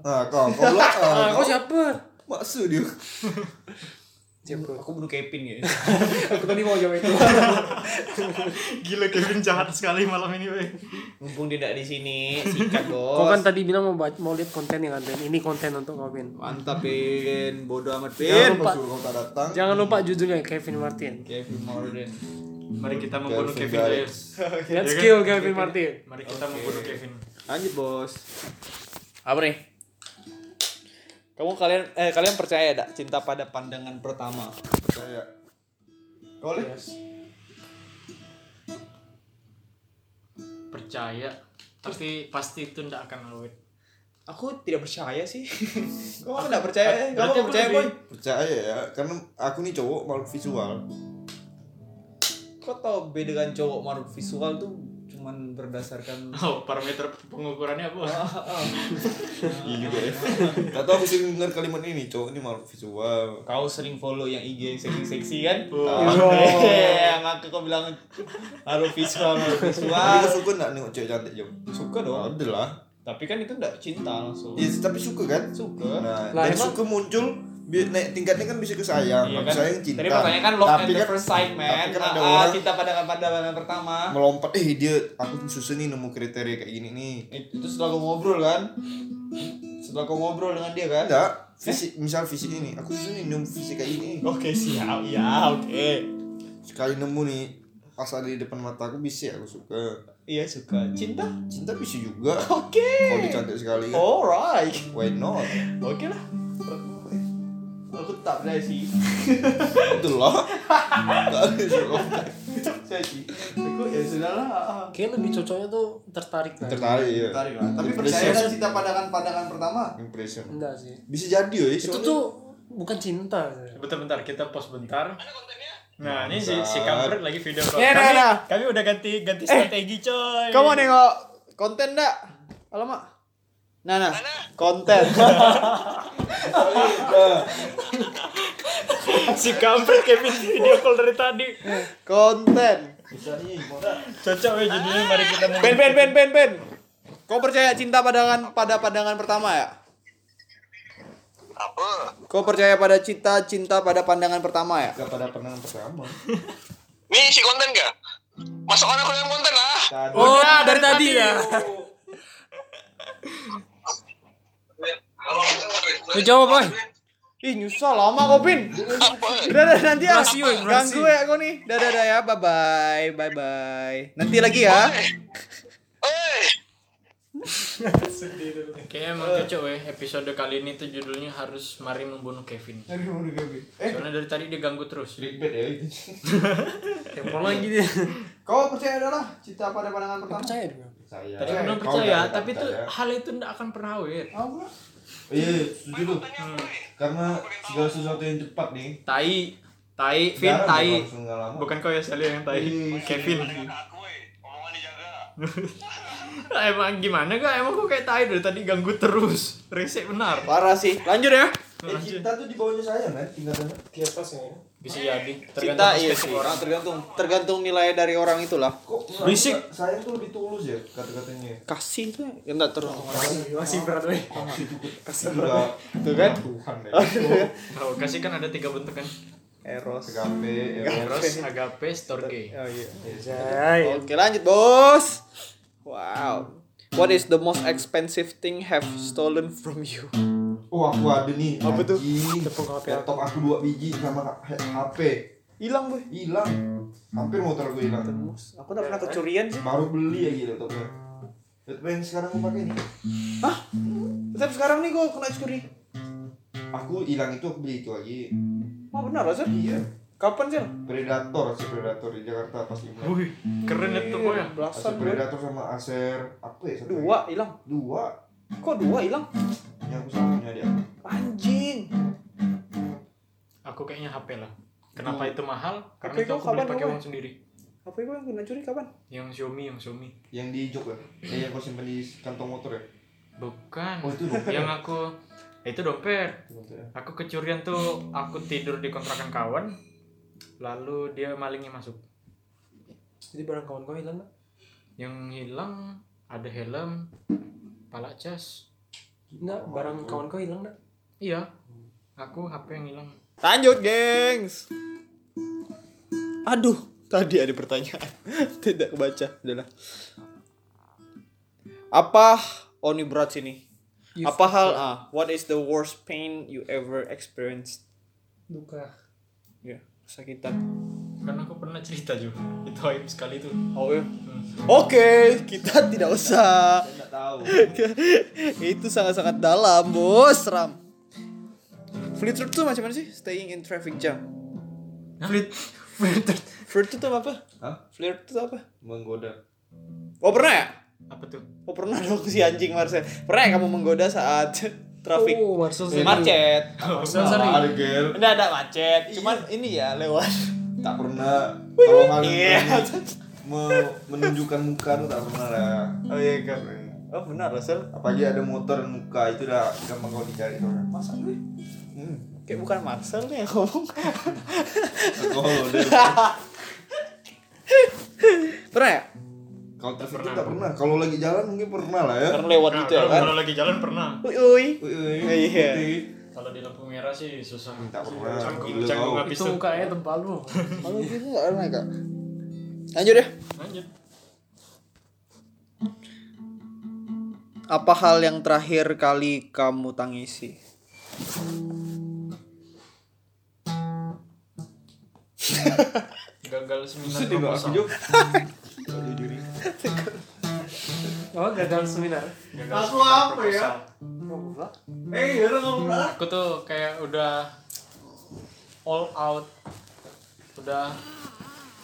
[SPEAKER 3] Ah, kau kau pula.
[SPEAKER 4] Ah,
[SPEAKER 3] Ah,
[SPEAKER 4] kau siapa?
[SPEAKER 3] maksud dia.
[SPEAKER 4] Siapa?
[SPEAKER 5] aku bunuh Kevin ya.
[SPEAKER 4] Aku tadi mau jawab itu.
[SPEAKER 1] Gila Kevin jahat sekali malam ini, weh.
[SPEAKER 5] Mumpung dia tidak di sini, sikat
[SPEAKER 4] Kau kan
[SPEAKER 5] bos.
[SPEAKER 4] tadi bilang mau baca, mau lihat konten yang ada. Ini konten untuk kau Vin.
[SPEAKER 5] Mantap Pin, bodoh amat
[SPEAKER 3] Kan
[SPEAKER 5] Pin.
[SPEAKER 3] pas suruh kau tak datang.
[SPEAKER 4] Jangan lupa judulnya Kevin Martin.
[SPEAKER 5] Kevin Morden.
[SPEAKER 1] Mari kita membunuh
[SPEAKER 3] Kevin
[SPEAKER 1] Kevin
[SPEAKER 3] Dias.
[SPEAKER 1] Dias.
[SPEAKER 4] Let's
[SPEAKER 1] Ya kan?
[SPEAKER 4] kill Kevin Martin.
[SPEAKER 1] Mari kita membunuh Kevin.
[SPEAKER 5] Lanjut bos. Apa nih? Kamu kalian eh kalian percaya tidak cinta pada pandangan pertama?
[SPEAKER 3] Kayak kau lihat
[SPEAKER 1] Percaya, tapi pasti itu ndak akan awet.
[SPEAKER 5] Aku tidak percaya sih. Kamu tidak percaya?
[SPEAKER 1] Berarti
[SPEAKER 5] Kamu
[SPEAKER 1] aku
[SPEAKER 5] percaya boy?
[SPEAKER 1] lebih-
[SPEAKER 3] percaya ya, karena aku nih cowok malu visual.
[SPEAKER 4] Hmm.
[SPEAKER 5] Kau tahu beda dengan cowok maruk visual tuh cuman berdasarkan
[SPEAKER 1] Oh, parameter pengukurannya apa?
[SPEAKER 3] Iya juga ya. Tak tahu aku sering dengar kalimat ini, cowok ini malu visual.
[SPEAKER 5] kau sering follow yang IG yang seksi-seksi kan?
[SPEAKER 1] Oh.
[SPEAKER 3] Iya.
[SPEAKER 5] Yang aku kau bilang harus visual, harus
[SPEAKER 3] Tapi
[SPEAKER 5] visual.
[SPEAKER 3] kau suka nggak nengok cewek cantik jam?
[SPEAKER 5] Suka dong.
[SPEAKER 3] Ada lah.
[SPEAKER 5] Tapi kan itu enggak cinta langsung.
[SPEAKER 3] Iya, tapi suka kan?
[SPEAKER 5] Suka.
[SPEAKER 3] Nah,
[SPEAKER 4] Lah,
[SPEAKER 3] dan
[SPEAKER 4] emang-
[SPEAKER 3] suka muncul bi- naik tingkatnya kan bisa ke sayang,
[SPEAKER 5] Iya
[SPEAKER 3] iya,
[SPEAKER 5] kan?
[SPEAKER 3] sayang cinta.
[SPEAKER 5] Tadi pertanyaan kan love
[SPEAKER 3] tapi
[SPEAKER 5] and the
[SPEAKER 3] kan
[SPEAKER 5] first sight man.
[SPEAKER 3] tapi kan ada
[SPEAKER 5] Ah, ah,
[SPEAKER 3] orang-
[SPEAKER 5] cinta pada pandangan pertama.
[SPEAKER 3] melompat, eh dia aku susah nih nemu kriteria kayak gini nih.
[SPEAKER 5] It- Itu setelah kau ngobrol kan? Setelah kau ngobrol dengan dia kan?
[SPEAKER 3] Enggak, fisik misal fisik ini, aku susah nih nemu fisik kayak gini.
[SPEAKER 5] Oke siap ya oke.
[SPEAKER 3] Sekali nemu nih asal di depan mata aku bisa aku suka.
[SPEAKER 5] Iya suka cinta.
[SPEAKER 3] Cinta bisa juga. Kalau dia
[SPEAKER 5] Oke.
[SPEAKER 3] cantik sekali kan.
[SPEAKER 4] Oh.
[SPEAKER 5] Alright.
[SPEAKER 3] Why not?
[SPEAKER 5] Oke lah. Aku tak percaya sih.
[SPEAKER 3] Betul lah. Enggak ada soal.
[SPEAKER 5] Tak percaya sih. Aku ya sudah lah. ah.
[SPEAKER 4] Kayaknya lebih cocoknya tuh tertarik kan?
[SPEAKER 3] Tertarik ya.
[SPEAKER 5] Tarik lah. Tapi
[SPEAKER 3] Impression.
[SPEAKER 5] percaya kan cinta pandangan-pandangan pertama?
[SPEAKER 3] Impression.
[SPEAKER 4] Enggak sih.
[SPEAKER 3] Bisa jadi ya.
[SPEAKER 4] Itu tuh bukan cinta.
[SPEAKER 1] Bentar-bentar, kita pause bentar. Nah, ini si, si
[SPEAKER 3] Bangsat.
[SPEAKER 1] kampret lagi video call.
[SPEAKER 5] Ya, ya,
[SPEAKER 1] Kami,
[SPEAKER 5] ya.
[SPEAKER 1] kami udah ganti ganti strategi, coy.
[SPEAKER 5] Kamu nengok konten dak? Alamak. Nah, nah. Konten.
[SPEAKER 1] si kampret Kevin video call dari tadi.
[SPEAKER 5] konten.
[SPEAKER 1] Cocok ya judulnya mari kita membunuh.
[SPEAKER 5] Ben, ben, ben, ben, ben. Kau percaya cinta pandangan pada pandangan pertama ya?
[SPEAKER 6] Apa?
[SPEAKER 5] Kau percaya pada cinta cinta pada pandangan pertama ya?
[SPEAKER 3] Enggak pada pandangan pertama.
[SPEAKER 6] Nih isi konten gak? Masuk anak yang konten lah.
[SPEAKER 4] Oh, dari tadi ya. Lu jawab, Boy.
[SPEAKER 5] Ih nyusah lama kau pin.
[SPEAKER 6] Apa?
[SPEAKER 5] Udah, udah nanti ya.
[SPEAKER 4] Durasi, woy, durasi.
[SPEAKER 5] Ganggu ya kau nih. Dadah, dadah ya. Bye bye. Bye bye. Nanti lagi ya.
[SPEAKER 6] Oi.
[SPEAKER 4] Sedih dulu.
[SPEAKER 1] Kayaknya emang cocok weh episode kali ini tuh judulnya harus mari membunuh Kevin.
[SPEAKER 2] Dari mana Gabi? Eh,
[SPEAKER 1] Soalnya dari tadi diganggu terus.
[SPEAKER 3] clickbait ya itu
[SPEAKER 4] Kepo lagi dia.
[SPEAKER 2] kau percaya adalah cinta pada pandangan pertama?
[SPEAKER 4] Percaya dong.
[SPEAKER 3] saya
[SPEAKER 1] Tadi aku belum
[SPEAKER 3] Kau
[SPEAKER 1] percaya,
[SPEAKER 3] jangan
[SPEAKER 1] tapi tuh
[SPEAKER 3] percaya.
[SPEAKER 1] hal itu nggak akan pernah awet.
[SPEAKER 2] Aku lah.
[SPEAKER 3] iya setuju tuh karena segala sesuatu yang cepat nih
[SPEAKER 1] Tai, tai, Vin,
[SPEAKER 3] jarang
[SPEAKER 1] tai.
[SPEAKER 3] berlangsung nggak lama.
[SPEAKER 1] Bukan kau ya Sally yang tai, Kevin.
[SPEAKER 6] aku weh omongan dijaga
[SPEAKER 1] emang gimana gak? Emang kok kayak tai dari tadi ganggu terus. Resek benar.
[SPEAKER 5] Parah sih. Lanjut ya.
[SPEAKER 3] Eh, cinta tuh di bawahnya saya kan tingkatannya
[SPEAKER 4] Di atas ya.
[SPEAKER 1] Bisa jadi.
[SPEAKER 5] Cinta iya sih
[SPEAKER 1] spesies.
[SPEAKER 5] orang tergantung tergantung nilai dari orang itulah.
[SPEAKER 3] kok saya-
[SPEAKER 1] Berisik.
[SPEAKER 3] saya tuh lebih tulus ya kata-katanya
[SPEAKER 5] Kasih tuh yang enggak terus.
[SPEAKER 4] Masih berat weh.
[SPEAKER 3] kasih juga
[SPEAKER 5] Tuh kan?
[SPEAKER 3] Tuhan ya
[SPEAKER 1] Kalau kasih kan ada tiga bentuk kan.
[SPEAKER 5] Eros.
[SPEAKER 3] Agape, Eros.
[SPEAKER 1] Eros, agape, storge.
[SPEAKER 5] Oh iya.
[SPEAKER 4] Jai.
[SPEAKER 5] Oke lanjut bos. Wow. What is the most expensive thing have stolen from you?
[SPEAKER 3] Oh aku ada nih.
[SPEAKER 5] Apa tuh?
[SPEAKER 3] anjing.
[SPEAKER 4] Tepung HP.
[SPEAKER 3] Laptop aku dua biji sama H- HP
[SPEAKER 5] Hilang boy.
[SPEAKER 3] hilang. Hampir motor aku hilang.
[SPEAKER 5] Termus. Aku udah pernah kecurian sih.
[SPEAKER 3] Baru beli ya gitu laptopnya. Laptop yang sekarang aku pakai nih.
[SPEAKER 5] Tapi sekarang nih gue kena curi.
[SPEAKER 3] Aku hilang itu aku beli itu lagi.
[SPEAKER 5] Mau benar Sir?
[SPEAKER 3] Iya.
[SPEAKER 5] Kapan sih?
[SPEAKER 3] Predator, si predator di Jakarta pas lima.
[SPEAKER 1] Wih, keren itu kok
[SPEAKER 5] Iya.
[SPEAKER 1] ya.
[SPEAKER 3] Acer
[SPEAKER 5] Belasan boy.
[SPEAKER 3] predator sama Acer apa ya? satu lagi?
[SPEAKER 5] Dua hilang.
[SPEAKER 3] Dua.
[SPEAKER 5] Kok dua hilang?
[SPEAKER 3] Ini aku sama punya dia.
[SPEAKER 5] Anjing.
[SPEAKER 1] Aku kayaknya HP lah. Kenapa itu mahal? Karena
[SPEAKER 5] HP
[SPEAKER 1] itu
[SPEAKER 5] kau
[SPEAKER 1] aku beli
[SPEAKER 5] kapan
[SPEAKER 1] pakai
[SPEAKER 5] kau,
[SPEAKER 1] uang sendiri.
[SPEAKER 5] Apa gue yang kena curi kapan?
[SPEAKER 1] Yang Xiaomi, yang Xiaomi.
[SPEAKER 3] Yang di jok ya? Eh, yang kau simpen di kantong motor ya?
[SPEAKER 1] Bukan.
[SPEAKER 3] Oh, itu dompet.
[SPEAKER 1] Yang aku itu dompet.
[SPEAKER 3] Motor ya?
[SPEAKER 1] Aku kecurian tuh aku tidur di kontrakan kawan. Lalu dia malingnya masuk.
[SPEAKER 4] Jadi barang kawan kau hilang nggak?
[SPEAKER 1] Yang hilang ada helm, pala cas.
[SPEAKER 4] Nggak. Barang kawan kau hilang nggak?
[SPEAKER 1] Iya. Aku HP yang hilang.
[SPEAKER 5] Lanjut, gengs. Aduh, tadi ada pertanyaan. Tidak kebaca, udahlah. Apa Oh ini berat sini. Apa hal ah, what is the worst pain you ever experienced?
[SPEAKER 4] Duka.
[SPEAKER 5] Ya, sakitan.
[SPEAKER 1] Karena aku pernah cerita juga. Itu aib sekali tuh.
[SPEAKER 5] Oh ya. Oke, kita tidak usah.
[SPEAKER 3] Nggak tahu.
[SPEAKER 5] Itu sangat-sangat dalam, Bos. Ram. Fleet Food tuh macam mana sih? Staying in traffic jam.
[SPEAKER 1] Flit. Flit.
[SPEAKER 5] Fleet Food tuh apa?
[SPEAKER 3] Hah?
[SPEAKER 5] Fleet tuh apa?
[SPEAKER 3] Menggoda.
[SPEAKER 5] Oh, pernah ya?
[SPEAKER 1] Apa tuh?
[SPEAKER 5] Oh pernah dong si anjing Marcel. Pernah ya kamu menggoda saat Iya. traffic?
[SPEAKER 4] Oh, Marcel sering.
[SPEAKER 5] macet.
[SPEAKER 1] Sel, sel.
[SPEAKER 3] Ada girl.
[SPEAKER 5] Enggak ada macet, cuman ini ya lewat.
[SPEAKER 3] tak pernah kalau hal
[SPEAKER 5] Iya.
[SPEAKER 3] mau menunjukkan muka tuh tak pernah lah
[SPEAKER 5] Oh iya kan. Oh benar Marcel.
[SPEAKER 3] apalagi ada motor dan muka itu udah gampang kau dicari orang
[SPEAKER 5] Masa gue? Hmm, Kayak bukan Marcel nih yang ngomong.
[SPEAKER 3] kau
[SPEAKER 5] pernah ya?
[SPEAKER 3] kalau traffic itu tak pernah kalau lagi jalan mungkin pernah lah ya
[SPEAKER 5] Karena lewat
[SPEAKER 1] Nah,
[SPEAKER 5] gitu ya
[SPEAKER 1] kalau-
[SPEAKER 5] kan.
[SPEAKER 1] Kalau lagi jalan pernah.
[SPEAKER 5] Ui ui.
[SPEAKER 3] Ui, ui,
[SPEAKER 5] Iya.
[SPEAKER 3] putih.
[SPEAKER 1] Kalau di lampu merah sih susah.
[SPEAKER 3] tak pernah
[SPEAKER 1] Canggung,
[SPEAKER 3] gila
[SPEAKER 1] canggung
[SPEAKER 3] kau
[SPEAKER 1] habis
[SPEAKER 4] Itu
[SPEAKER 1] tuh.
[SPEAKER 4] mukanya tebal lu.
[SPEAKER 5] Kalau gitu enggak pernah Kak. Lanjut ya.
[SPEAKER 1] Lanjut.
[SPEAKER 5] Apa hal yang terakhir kali kamu tangisi?
[SPEAKER 1] Gagal seminar
[SPEAKER 3] sedih gak aku
[SPEAKER 1] proposal.
[SPEAKER 3] Jok?
[SPEAKER 4] Oh, gagal seminar.
[SPEAKER 1] Gagal
[SPEAKER 2] Aku
[SPEAKER 1] seminar
[SPEAKER 2] apa ya?
[SPEAKER 1] proposal.
[SPEAKER 2] Eh, lu ngomong lah.
[SPEAKER 1] aku tuh kayak udah all out udah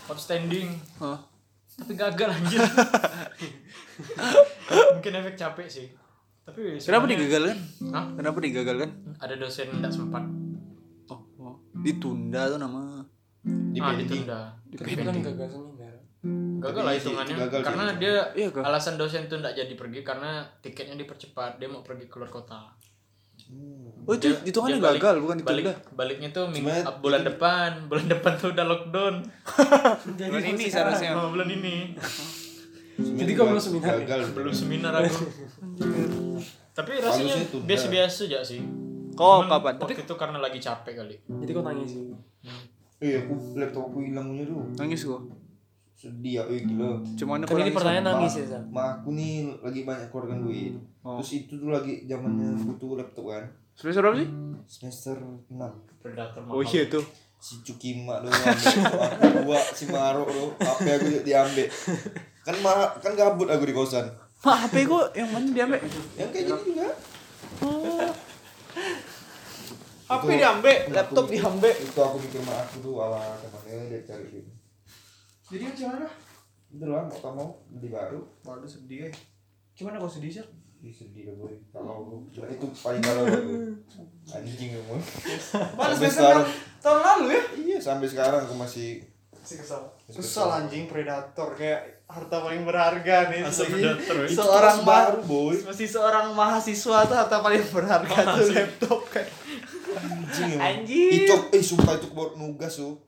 [SPEAKER 1] outstanding
[SPEAKER 5] Hah?
[SPEAKER 1] tapi gagal anjir mungkin efek capek sih tapi
[SPEAKER 5] Kenapa
[SPEAKER 1] sebenarnya-
[SPEAKER 5] digagalkan?
[SPEAKER 1] Hah?
[SPEAKER 5] Kenapa digagalkan?
[SPEAKER 1] ada dosen tidak sempat
[SPEAKER 5] Oh, oh. ditunda tuh
[SPEAKER 1] ah
[SPEAKER 5] nama.
[SPEAKER 3] Dipending.
[SPEAKER 1] ditunda
[SPEAKER 4] Tapi kan gagal seminar.
[SPEAKER 1] gagal lah
[SPEAKER 3] Tapi
[SPEAKER 1] hitungannya
[SPEAKER 3] gagal
[SPEAKER 1] karena
[SPEAKER 3] sih.
[SPEAKER 1] dia
[SPEAKER 5] Iya, gagal.
[SPEAKER 1] alasan dosen tuh tidak jadi pergi karena tiketnya dipercepat dia mau pergi keluar kota
[SPEAKER 5] Oh itu
[SPEAKER 1] Dia-
[SPEAKER 5] hitungannya
[SPEAKER 1] dia balik-
[SPEAKER 5] gagal bukan ditunda.
[SPEAKER 1] balik, baliknya tuh minggu,
[SPEAKER 3] Cuma-
[SPEAKER 1] bulan depan bulan depan tuh udah lockdown
[SPEAKER 5] Bulan ini seharusnya.
[SPEAKER 1] Oh, bulan ini
[SPEAKER 4] Jadi kau belum seminar ya?
[SPEAKER 3] gagal
[SPEAKER 1] belum seminar aku tapi rasanya
[SPEAKER 3] Harusnya tunda.
[SPEAKER 1] biasa-biasa aja sih
[SPEAKER 5] Kau
[SPEAKER 1] Cuman
[SPEAKER 5] kapan?
[SPEAKER 1] waktu itu karena lagi capek kali
[SPEAKER 4] Jadi kau tangis sih.
[SPEAKER 3] iya Eh, aku laptop aku hilangnya tuh
[SPEAKER 5] Nangis gua.
[SPEAKER 3] sedih ya eh gila
[SPEAKER 5] Cuman
[SPEAKER 4] Kan
[SPEAKER 5] aku
[SPEAKER 4] ini
[SPEAKER 5] nangis.
[SPEAKER 4] pertanyaan nangis ya, Sal.
[SPEAKER 3] ma aku nih lagi banyak keluarkan duit terus itu tuh lagi zamannya butuh laptop kan
[SPEAKER 5] Semester berapa sih?
[SPEAKER 3] semester 6
[SPEAKER 1] predator
[SPEAKER 5] Oh iya tuh.
[SPEAKER 3] si Cuki mak dulu ambil aku dua si Maro dulu HP aku juga diambil kan marah kan gabut aku di kosan
[SPEAKER 7] Mak HP gua yang mana diambil?
[SPEAKER 3] Yang kayak gini juga.
[SPEAKER 7] HP diambil, laptop diambil.
[SPEAKER 3] Itu aku mikir sama aku tuh ala temannya dia cari gini.
[SPEAKER 2] Jadi macam mana?
[SPEAKER 3] Udah lah, mau tak mau beli baru.
[SPEAKER 2] kan Waduh sedih. eh. Cuman aku sedih sih.
[SPEAKER 3] Ih, sedih gue. Kalau itu paling kalau gue. anjing kamu.
[SPEAKER 2] Balas
[SPEAKER 3] Sampai
[SPEAKER 2] pesan
[SPEAKER 3] sekarang.
[SPEAKER 2] tahun- tahun lalu ya?
[SPEAKER 3] Iya, sampai sekarang aku masih
[SPEAKER 2] Masih kesal.
[SPEAKER 3] Masih
[SPEAKER 2] Kesal
[SPEAKER 3] kesal.
[SPEAKER 2] anjing predator kayak harta paling berharga nih.
[SPEAKER 1] Asal
[SPEAKER 2] Lagi
[SPEAKER 1] predator, ya.
[SPEAKER 2] Seorang
[SPEAKER 5] Itu
[SPEAKER 2] baru.
[SPEAKER 5] baru boy.
[SPEAKER 2] Masih seorang mahasiswa tuh harta paling berharga tuh laptop kan.
[SPEAKER 3] Anjing ya.
[SPEAKER 2] Anjing.
[SPEAKER 3] Itu eh sumpah itu baru nugas tuh.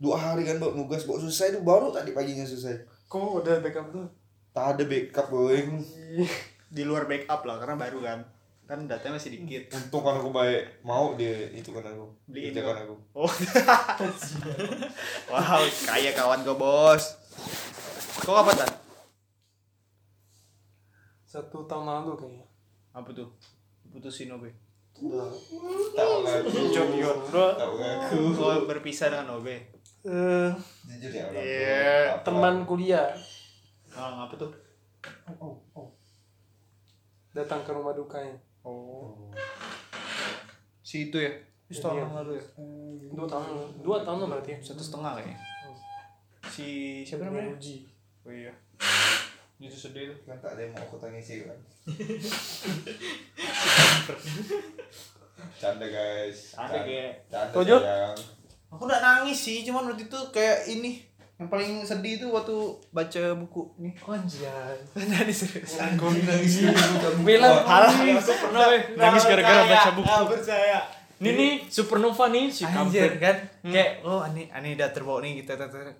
[SPEAKER 3] Dua hari kan baru nugas, baru selesai tuh baru tadi paginya selesai.
[SPEAKER 2] Kok udah backup tuh?
[SPEAKER 3] Tak ada backup boy.
[SPEAKER 2] Di luar backup lah karena baru kan. Kan datanya masih dikit.
[SPEAKER 3] Untung kan aku baik mau dia itu kan aku.
[SPEAKER 2] Beliin
[SPEAKER 3] Itu
[SPEAKER 2] kok.
[SPEAKER 3] kan aku.
[SPEAKER 2] Oh. wow, kaya kawan gue bos. Kau apa tan?
[SPEAKER 4] Satu tahun lalu kayaknya.
[SPEAKER 2] Apa tuh? Putusin Obe.
[SPEAKER 3] Tahu ngaku.
[SPEAKER 2] Junior bro.
[SPEAKER 3] Tahu ngaku.
[SPEAKER 2] Kau berpisah dengan Obe.
[SPEAKER 4] Eh,
[SPEAKER 3] Jujur ya orang.
[SPEAKER 2] Iya,
[SPEAKER 3] Apa?
[SPEAKER 4] teman kuliah
[SPEAKER 2] Ah, apa tuh?
[SPEAKER 4] datang ke rumah ya. dukanya.
[SPEAKER 2] Oh. Si itu ya? Itu tahun yang lalu ya?
[SPEAKER 4] Dua tahun lalu. Dua tahun lah berarti. ya?
[SPEAKER 2] Satu setengah kayaknya. Si siapa namanya?
[SPEAKER 4] Uji.
[SPEAKER 2] Oh iya. Itu sedih tuh.
[SPEAKER 3] kan tak ada yang mau aku tangis sih kan. Canda guys.
[SPEAKER 2] Canda, guys.
[SPEAKER 3] Canda
[SPEAKER 4] Tujuh?
[SPEAKER 3] sayang.
[SPEAKER 2] Aku nggak nangis sih, cuman waktu itu kayak ini. Yang paling sedih itu waktu baca buku nih.
[SPEAKER 4] Anjay.
[SPEAKER 2] Nangis serius.
[SPEAKER 4] Bela
[SPEAKER 1] Parah, aku pernah nangis gara-gara baca buku.
[SPEAKER 2] Nggak Ah, percaya.
[SPEAKER 1] Ini nih supernova nih si
[SPEAKER 2] Anjir
[SPEAKER 1] kampret.
[SPEAKER 2] kan? Kayak oh aneh aneh udah terbawa nih kita terbawa.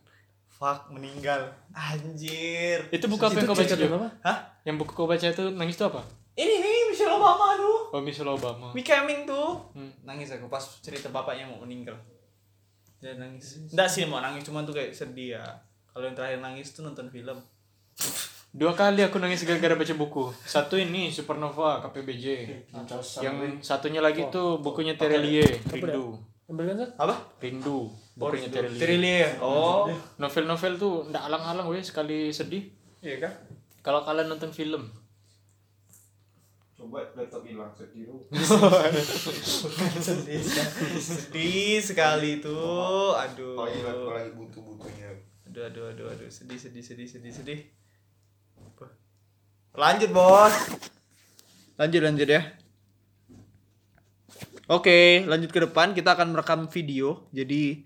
[SPEAKER 2] Fuck meninggal. Anjir.
[SPEAKER 1] Itu buku apa yang kau baca dulu?
[SPEAKER 2] Hah?
[SPEAKER 1] Yang buku kau baca itu nangis itu apa?
[SPEAKER 2] Ini nih Michelle Obama tuh.
[SPEAKER 1] Oh Michelle Obama.
[SPEAKER 2] We coming tuh.
[SPEAKER 1] Hmm.
[SPEAKER 2] Nangis aku pas cerita bapaknya mau meninggal. Dia nangis. Enggak sih mau nangis cuman tuh kayak sedih ya. Kalau yang terakhir nangis tuh nonton film.
[SPEAKER 1] Dua kali aku nangis gara-gara baca buku. Satu ini supernova KPBJ. Yang satunya lagi tuh bukunya Terelie Rindu.
[SPEAKER 4] Ambil kan Sat?
[SPEAKER 2] Apa?
[SPEAKER 1] Rindu. Bukunya Terelie.
[SPEAKER 2] Terilie. Oh.
[SPEAKER 1] Novel-novel tuh ndak alang-alang weh sekali sedih.
[SPEAKER 2] Iya kan?
[SPEAKER 1] Kalau kalian nonton film,
[SPEAKER 3] Coba laptop hilang sedih lu.
[SPEAKER 2] sedih sekali. sedih sekali tuh. Aduh.
[SPEAKER 3] Kalau hilang kalau Oh, iya, lagi butuh-butuhnya.
[SPEAKER 2] Aduh, aduh, aduh, aduh, sedih, sedih, sedih, sedih, sedih. Apa? Lanjut, bos. Lanjut, lanjut ya.
[SPEAKER 5] Oke, lanjut ke depan kita akan merekam video. Jadi